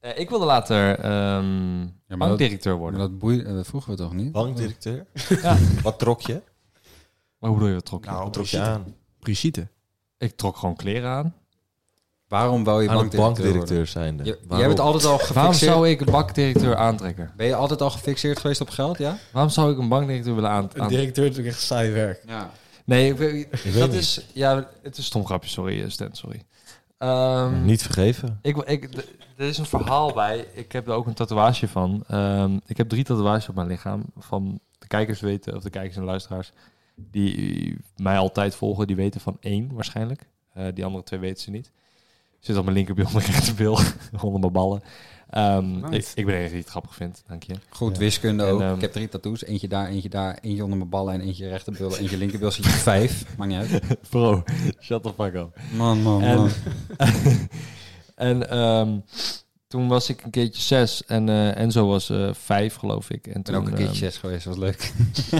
Speaker 5: eh, ik wilde later ehm
Speaker 7: dat-
Speaker 5: bankdirecteur worden.
Speaker 7: Maar dat, boeide, eh, dat vroegen we toch niet?
Speaker 8: Bankdirecteur? [laughs] Wat trok je?
Speaker 5: Maar hoe bedoel je dat trok? je?
Speaker 8: Wat trok je aan?
Speaker 6: Brigitte.
Speaker 5: Ik trok gewoon kleren aan.
Speaker 7: Waarom wou je
Speaker 8: Aan een
Speaker 7: bankdirecteur,
Speaker 8: bankdirecteur zijnde.
Speaker 7: worden? Je, jij
Speaker 8: Waarom?
Speaker 7: bent altijd al gefixeerd.
Speaker 5: Waarom zou ik een bankdirecteur aantrekken?
Speaker 7: Ben je altijd al gefixeerd geweest op geld, ja?
Speaker 5: Waarom zou ik een bankdirecteur willen aan-
Speaker 6: Een
Speaker 5: aan...
Speaker 6: directeur is natuurlijk echt saai werk.
Speaker 7: Ja.
Speaker 5: Nee, ik weet- dat
Speaker 8: niet.
Speaker 5: is... Ja, het is stom grapje. Sorry, eh, Stan. Sorry. Ehm,
Speaker 8: Niet vergeven.
Speaker 5: Ik, ik, d- er is een verhaal bij. Ik heb er ook een tatoeage van. Ehm, ik heb drie tatoeages op mijn lichaam. Van de kijkers weten, of de kijkers en luisteraars, die mij altijd volgen, die weten van één waarschijnlijk. Eh, die andere twee weten ze niet. Zit op mijn linkerbil, mijn rechterbil, [laughs] onder mijn ballen. Ehm,
Speaker 6: Nice.
Speaker 5: ik, ik ben de enige die het grappig vindt, dank je.
Speaker 7: Goed,
Speaker 8: Ja.
Speaker 7: wiskunde
Speaker 5: En,
Speaker 7: ook.
Speaker 5: ehm,
Speaker 7: ik heb drie tattoos. Eentje daar, eentje daar, eentje onder mijn ballen en eentje rechterbil. Eentje linkerbil zit je vijf. Maakt niet uit.
Speaker 5: Bro, [laughs] shut the fuck up.
Speaker 7: Man, man,
Speaker 5: En,
Speaker 7: man.
Speaker 5: [laughs] en ehm, toen was ik een keertje zes en eh Enzo was eh, vijf, geloof ik. En
Speaker 7: Ik ben
Speaker 5: toen
Speaker 7: ook een
Speaker 5: ehm,
Speaker 7: keertje zes geweest, was [laughs] leuk.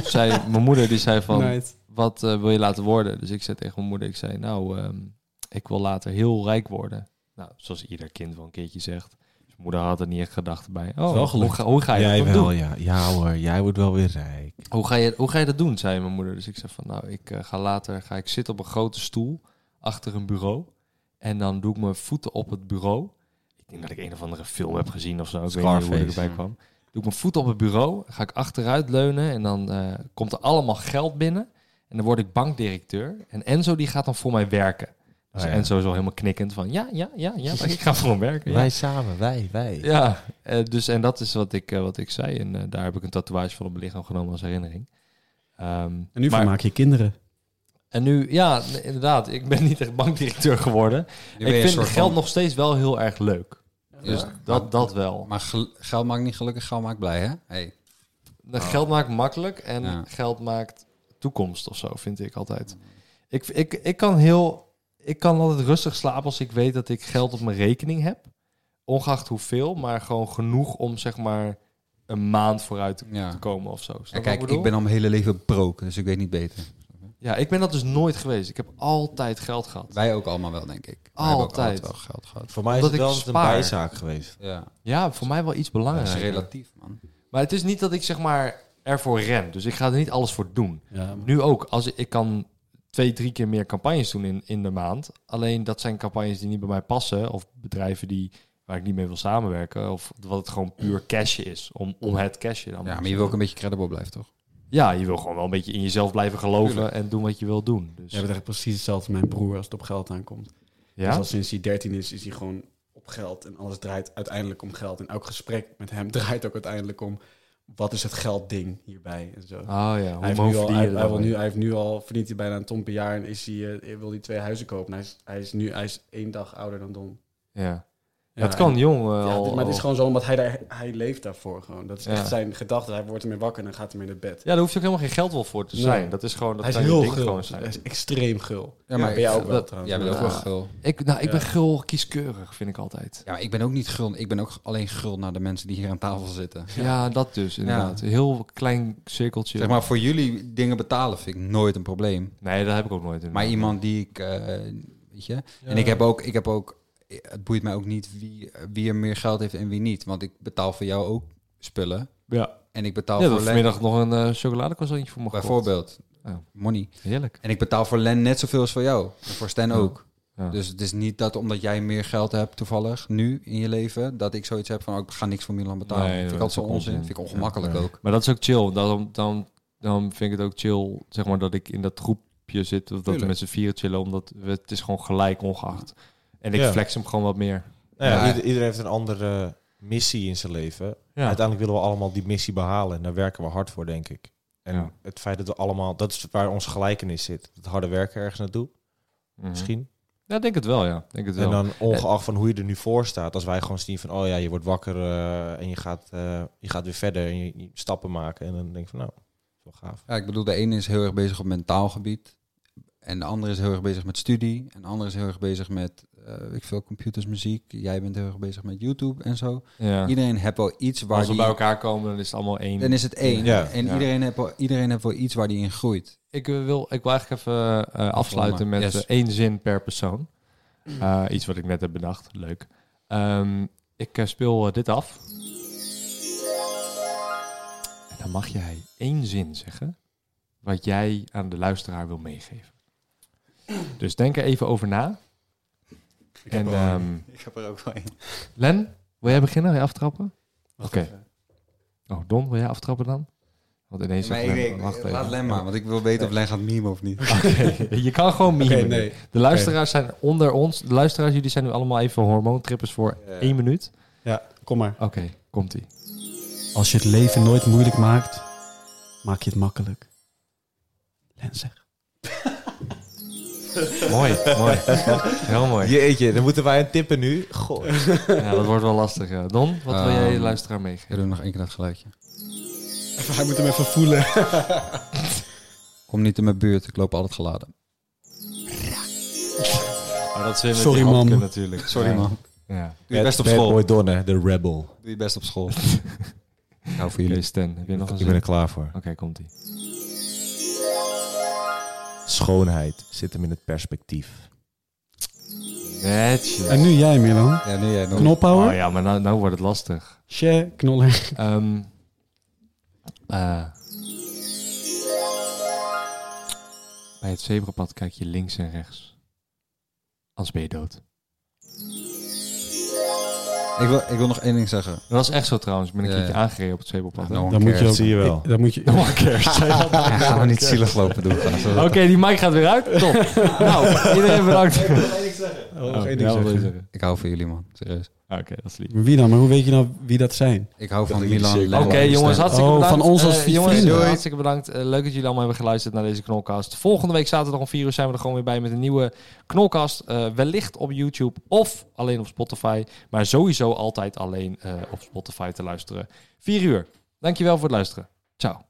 Speaker 5: zei mijn moeder, die zei van,
Speaker 6: Nice.
Speaker 5: wat eh, wil je laten worden? Dus ik zei tegen mijn moeder, ik zei, nou, ehm, ik wil later heel rijk worden. Nou, zoals ieder kind wel een keertje zegt. Dus mijn moeder had er niet echt gedachten bij. Oh,
Speaker 8: wel
Speaker 5: hoe
Speaker 8: gelukt.
Speaker 5: ga, hoe ga je
Speaker 8: Jij
Speaker 5: dat
Speaker 8: wel,
Speaker 5: doen? Oh,
Speaker 8: ja. Ja hoor, jij wordt wel weer rijk.
Speaker 5: Hoe ga, je, hoe ga je dat doen, zei mijn moeder. Dus ik zei van, nou, ik eh, ga later ga ik zitten op een grote stoel achter een bureau. En dan doe ik mijn voeten op het bureau. Ik denk dat ik een of andere film heb gezien of zo. Ik weet niet hoe ik
Speaker 8: Scarface. Hmm.
Speaker 5: erbij kwam. Doe ik mijn voeten op het bureau, ga ik achteruit leunen en dan eh, komt er allemaal geld binnen. En dan word ik bankdirecteur. En Enzo die gaat dan voor mij werken. Dus
Speaker 8: Ah, ja.
Speaker 5: Enzo is al helemaal knikkend van ja, ja, ja, ja, maar ik ga voor hem werken. ja.
Speaker 8: Wij samen, wij, wij.
Speaker 5: Ja, eh, dus en dat is wat ik, eh, wat ik zei. En eh, daar heb ik een tatoeage van op mijn lichaam genomen als herinnering. Ehm,
Speaker 6: En nu
Speaker 5: maar-
Speaker 6: vermaak je kinderen.
Speaker 5: en nu, ja, n- inderdaad. Ik ben niet echt bankdirecteur geworden.
Speaker 7: Nu ben je
Speaker 5: Ik
Speaker 7: een
Speaker 5: vind
Speaker 7: soort
Speaker 5: geld
Speaker 7: van-
Speaker 5: nog steeds wel heel erg leuk.
Speaker 7: Dus
Speaker 5: Dat, dat wel.
Speaker 7: Maar gel- geld maakt niet gelukkig, geld maakt blij, hè? Hey.
Speaker 5: Dat Geld maakt makkelijk en
Speaker 7: Ja.
Speaker 5: geld maakt toekomst of zo, vind ik altijd. Ik, ik, ik kan heel... Ik kan altijd rustig slapen als ik weet dat ik geld op mijn rekening heb. Ongeacht hoeveel, maar gewoon genoeg om zeg maar een maand vooruit te
Speaker 7: Ja.
Speaker 5: te komen of zo. Snap je
Speaker 7: Ja,
Speaker 5: wat
Speaker 7: kijk,
Speaker 5: bedoel?
Speaker 7: ik ben al mijn hele leven broke, dus ik weet niet beter.
Speaker 5: Ja, ik ben dat dus nooit geweest. Ik heb altijd geld gehad.
Speaker 7: Wij ook allemaal wel, denk ik. Wij hebben ook
Speaker 5: Altijd.
Speaker 7: altijd wel geld gehad.
Speaker 8: Voor mij is
Speaker 5: Omdat
Speaker 8: het
Speaker 5: ik
Speaker 8: wel eens een
Speaker 5: spaar.
Speaker 8: bijzaak geweest.
Speaker 7: Ja,
Speaker 5: Ja, voor mij wel iets
Speaker 7: dat is
Speaker 5: belangrijker.
Speaker 7: relatief, man.
Speaker 5: Maar het is niet dat ik zeg maar ervoor ren. Dus ik ga er niet alles voor doen.
Speaker 6: Ja, maar-
Speaker 5: Nu ook, als ik, ik kan twee, drie keer meer campagnes doen in, in de maand. Alleen dat zijn campagnes die niet bij mij passen. Of bedrijven die, waar ik niet mee wil samenwerken. Of wat het gewoon puur cashje is. Om, om het cashje dan.
Speaker 7: Ja, maar je wil ook een beetje credible blijven, toch?
Speaker 5: Ja, je wil gewoon wel een beetje in jezelf blijven geloven en doen wat je wil doen. Dus,
Speaker 6: Jij bent echt precies hetzelfde als mijn broer als het op geld aankomt.
Speaker 5: ja?
Speaker 6: Dus al sinds hij 13 is, is hij gewoon op geld. En alles draait uiteindelijk om geld. En elk gesprek met hem [laughs] draait ook uiteindelijk om... wat is het geldding hierbij en zo.
Speaker 5: Oh ja,
Speaker 6: Hij
Speaker 5: hoe
Speaker 6: heeft, nu
Speaker 5: mooi
Speaker 6: al,
Speaker 5: verdien
Speaker 6: hij,
Speaker 5: je er
Speaker 6: hij
Speaker 5: dan
Speaker 6: wil
Speaker 5: mee?
Speaker 6: nu, hij heeft nu al, verdient hij bijna een ton per jaar en is hij, eh, wil hij twee huizen kopen. Hij is, hij is nu hij is één dag ouder dan Don.
Speaker 5: Ja.
Speaker 6: Ja,
Speaker 5: dat kan
Speaker 6: en-
Speaker 5: jong eh,
Speaker 6: Ja,
Speaker 5: al.
Speaker 6: dit- maar het is
Speaker 5: al-
Speaker 6: gewoon zo, omdat hij, daar, hij leeft daarvoor gewoon. Dat is
Speaker 5: Ja.
Speaker 6: echt zijn gedachte. Hij wordt ermee wakker en dan gaat hij mee naar bed.
Speaker 5: Ja, daar hoef je ook helemaal geen geld wel voor te
Speaker 6: Nee.
Speaker 5: zijn. Dat is gewoon... Dat
Speaker 6: hij is
Speaker 5: kan je
Speaker 6: heel
Speaker 5: ding
Speaker 6: gul.
Speaker 5: gewoon
Speaker 6: Hij
Speaker 5: zijn.
Speaker 6: is extreem gul.
Speaker 7: Ja, maar
Speaker 6: ben jij ook wel
Speaker 7: dat-
Speaker 6: trouwens.
Speaker 7: Jij bent ook
Speaker 5: Ja.
Speaker 7: wel gul.
Speaker 5: Ik, nou, ik
Speaker 6: Ja.
Speaker 5: ben gul kieskeurig, vind ik altijd.
Speaker 7: Ja, maar ik ben ook niet gul. Ik ben ook alleen gul naar de mensen die hier aan tafel zitten.
Speaker 5: Ja, dat dus, inderdaad. Heel klein cirkeltje.
Speaker 7: Zeg maar, voor jullie dingen betalen vind ik nooit een probleem.
Speaker 5: nee, dat heb ik ook nooit. inderdaad.
Speaker 7: Maar iemand die ik, eh, weet je. En ik heb ook, ik heb ook, het boeit mij ook niet wie, wie er meer geld heeft en wie niet. Want ik betaal voor jou ook spullen.
Speaker 5: Ja,
Speaker 7: En ik
Speaker 5: ja
Speaker 7: betaal
Speaker 5: dat
Speaker 7: voor Len,
Speaker 5: vanmiddag nog een eh chocoladecroissantje voor me gekocht.
Speaker 7: bijvoorbeeld.
Speaker 5: Ja.
Speaker 7: Money.
Speaker 5: Heerlijk.
Speaker 7: En ik betaal voor Len net zoveel als voor jou. En voor Stan ook.
Speaker 5: Ja.
Speaker 7: Dus het is niet dat omdat jij meer geld hebt toevallig nu in je leven, dat ik zoiets heb van oh, ik ga niks voor Milan betalen.
Speaker 5: Nee,
Speaker 7: vind ik
Speaker 5: dat
Speaker 7: altijd
Speaker 5: is
Speaker 7: zo
Speaker 5: ook
Speaker 7: onzin.
Speaker 5: onzin.
Speaker 7: Vind ik ongemakkelijk
Speaker 5: Ja.
Speaker 7: ook.
Speaker 5: Maar dat is ook chill. Daarom, daarom, daarom vind ik het ook chill, zeg maar, dat ik in dat groepje zit. Of dat we
Speaker 7: Tuurlijk.
Speaker 5: met z'n vieren chillen, omdat we, het is gewoon gelijk ongeacht. En ik
Speaker 8: Ja.
Speaker 5: flex hem gewoon wat meer.
Speaker 8: Nou ja,
Speaker 7: Ja.
Speaker 8: ieder- iedereen heeft een andere missie in zijn leven.
Speaker 5: Ja.
Speaker 8: Uiteindelijk willen we allemaal die missie behalen. En daar werken we hard voor, denk ik. En
Speaker 5: Ja.
Speaker 8: het feit dat we allemaal... Dat is waar onze gelijkenis zit. Het harde werken ergens naartoe,
Speaker 5: Mhm.
Speaker 8: misschien.
Speaker 5: Ja, denk het wel, ja. Denk het wel.
Speaker 8: En dan ongeacht van hoe je er nu voor staat. Als wij gewoon zien van... Oh ja, je wordt wakker eh, en je gaat, eh, je gaat weer verder. En je, je stappen maken. En dan denk ik van nou, dat is wel gaaf.
Speaker 7: Ja, ik bedoel, de ene is heel erg bezig op mentaal gebied. En de andere is heel erg bezig met studie. En de andere is heel erg bezig met, eh, weet ik veel, computers, muziek. Jij bent heel erg bezig met YouTube en zo.
Speaker 5: ja.
Speaker 7: Iedereen heeft wel iets waar
Speaker 5: Als we
Speaker 7: die...
Speaker 5: bij elkaar komen, dan is het allemaal één.
Speaker 7: Dan is het één.
Speaker 8: Ja,
Speaker 7: en
Speaker 5: ja.
Speaker 7: Iedereen, heeft wel, iedereen heeft wel iets waar die in groeit.
Speaker 5: Ik eh, wil, ik wil eigenlijk even eh, afsluiten met
Speaker 7: Yes.
Speaker 5: eh, één zin per persoon. Eh, iets wat ik net heb bedacht. Leuk. Ehm, ik eh, speel eh, dit af. En dan mag jij één zin zeggen wat jij aan de luisteraar wil meegeven. Dus denk er even over na. en ehm,
Speaker 7: Ik heb er ook wel één.
Speaker 5: Len, wil jij beginnen? Wil jij aftrappen? Oké. Oh, Don, wil jij aftrappen dan? Want ineens zegt Len, wacht even.
Speaker 7: laat Len maar, want ik wil weten of Len gaat meme of niet.
Speaker 5: Oké, [laughs] je kan gewoon mimen.
Speaker 6: Oké, nee.
Speaker 5: De luisteraars zijn onder ons. De luisteraars, jullie zijn nu allemaal even hormoontrippers voor één minuut.
Speaker 6: Ja, kom maar.
Speaker 5: Oké, komt-ie.
Speaker 6: Als je het leven nooit moeilijk maakt, maak je het makkelijk. Len zeg.
Speaker 5: mooi, [laughs] mooi. Heel mooi.
Speaker 8: Jeetje, dan moeten wij een tippen nu. Goh.
Speaker 5: Ja, dat wordt wel lastig. eh. Don, wat wil jij de
Speaker 7: Ehm,
Speaker 5: luisteraar meegeven?
Speaker 7: Ik doe nog één keer dat geluidje.
Speaker 6: Hij moet hem even voelen.
Speaker 7: Kom niet in mijn buurt, ik loop altijd geladen.
Speaker 5: dat zijn
Speaker 6: met Sorry, die hapken man.
Speaker 5: natuurlijk.
Speaker 7: Sorry man.
Speaker 5: Ja.
Speaker 7: Doe je best op
Speaker 8: Bad
Speaker 7: school.
Speaker 8: Boy Don, hè, de rebel.
Speaker 7: Doe je best op school. nou, voor
Speaker 5: Oké,
Speaker 7: jullie.
Speaker 5: Stan, heb je nog een
Speaker 8: Ik ben
Speaker 5: zin?
Speaker 8: er
Speaker 5: Oké,
Speaker 8: klaar voor.
Speaker 5: komt-ie.
Speaker 8: Schoonheid zit hem in het perspectief.
Speaker 5: Netjes.
Speaker 6: En nu jij, Milan.
Speaker 7: Ja, nu jij nog.
Speaker 5: Oh
Speaker 6: Knophouwer.
Speaker 5: ja, maar nou, nou wordt het lastig.
Speaker 6: Che, knoller.
Speaker 5: Ehm, eh, bij het zebrapad kijk je links en rechts. Anders ben je dood.
Speaker 7: Ik wil, ik wil nog één ding zeggen.
Speaker 5: Dat was echt zo trouwens. Ik ben een
Speaker 7: Ja,
Speaker 5: keertje
Speaker 7: ja.
Speaker 5: aangereden op het zebrapad. hè?
Speaker 7: Nou,
Speaker 6: Dan moet je
Speaker 7: kerst.
Speaker 6: ook...
Speaker 8: zie je wel.
Speaker 6: Dan moet je...
Speaker 5: No one cares. Zei dat.
Speaker 6: [laughs]
Speaker 7: [laughs] Ja, gaan we niet zielig lopen doen. Gaan we-
Speaker 5: Oké, die mic gaat weer uit. Top.
Speaker 7: [laughs]
Speaker 5: nou, iedereen bedankt.
Speaker 8: nog
Speaker 5: Oh,
Speaker 8: één
Speaker 5: ja,
Speaker 8: ding
Speaker 5: wat wil je
Speaker 8: zeggen.
Speaker 5: zeggen?
Speaker 7: Ik hou van jullie, man. Serieus.
Speaker 5: Ah, Oké, dat is lief.
Speaker 6: Maar Wie dan? Maar hoe weet je nou wie dat zijn?
Speaker 7: Ik hou van
Speaker 8: jullie
Speaker 7: Milan.
Speaker 8: zeker-
Speaker 7: Len-
Speaker 5: Oké,
Speaker 7: Len-
Speaker 5: jongens,
Speaker 7: Stan.
Speaker 5: hartstikke
Speaker 6: Oh,
Speaker 5: bedankt.
Speaker 6: van ons
Speaker 5: Eh,
Speaker 6: als
Speaker 5: jongens,
Speaker 6: vrienden.
Speaker 5: eh, hartstikke bedankt. Eh, leuk dat jullie allemaal hebben geluisterd naar deze knolcast. Volgende week zaterdag om 4 uur zijn we er gewoon weer bij met een nieuwe knolcast. Eh, wellicht op YouTube of alleen op Spotify. Maar sowieso altijd alleen eh, op Spotify te luisteren. 4 uur. Dankjewel voor het luisteren. Ciao.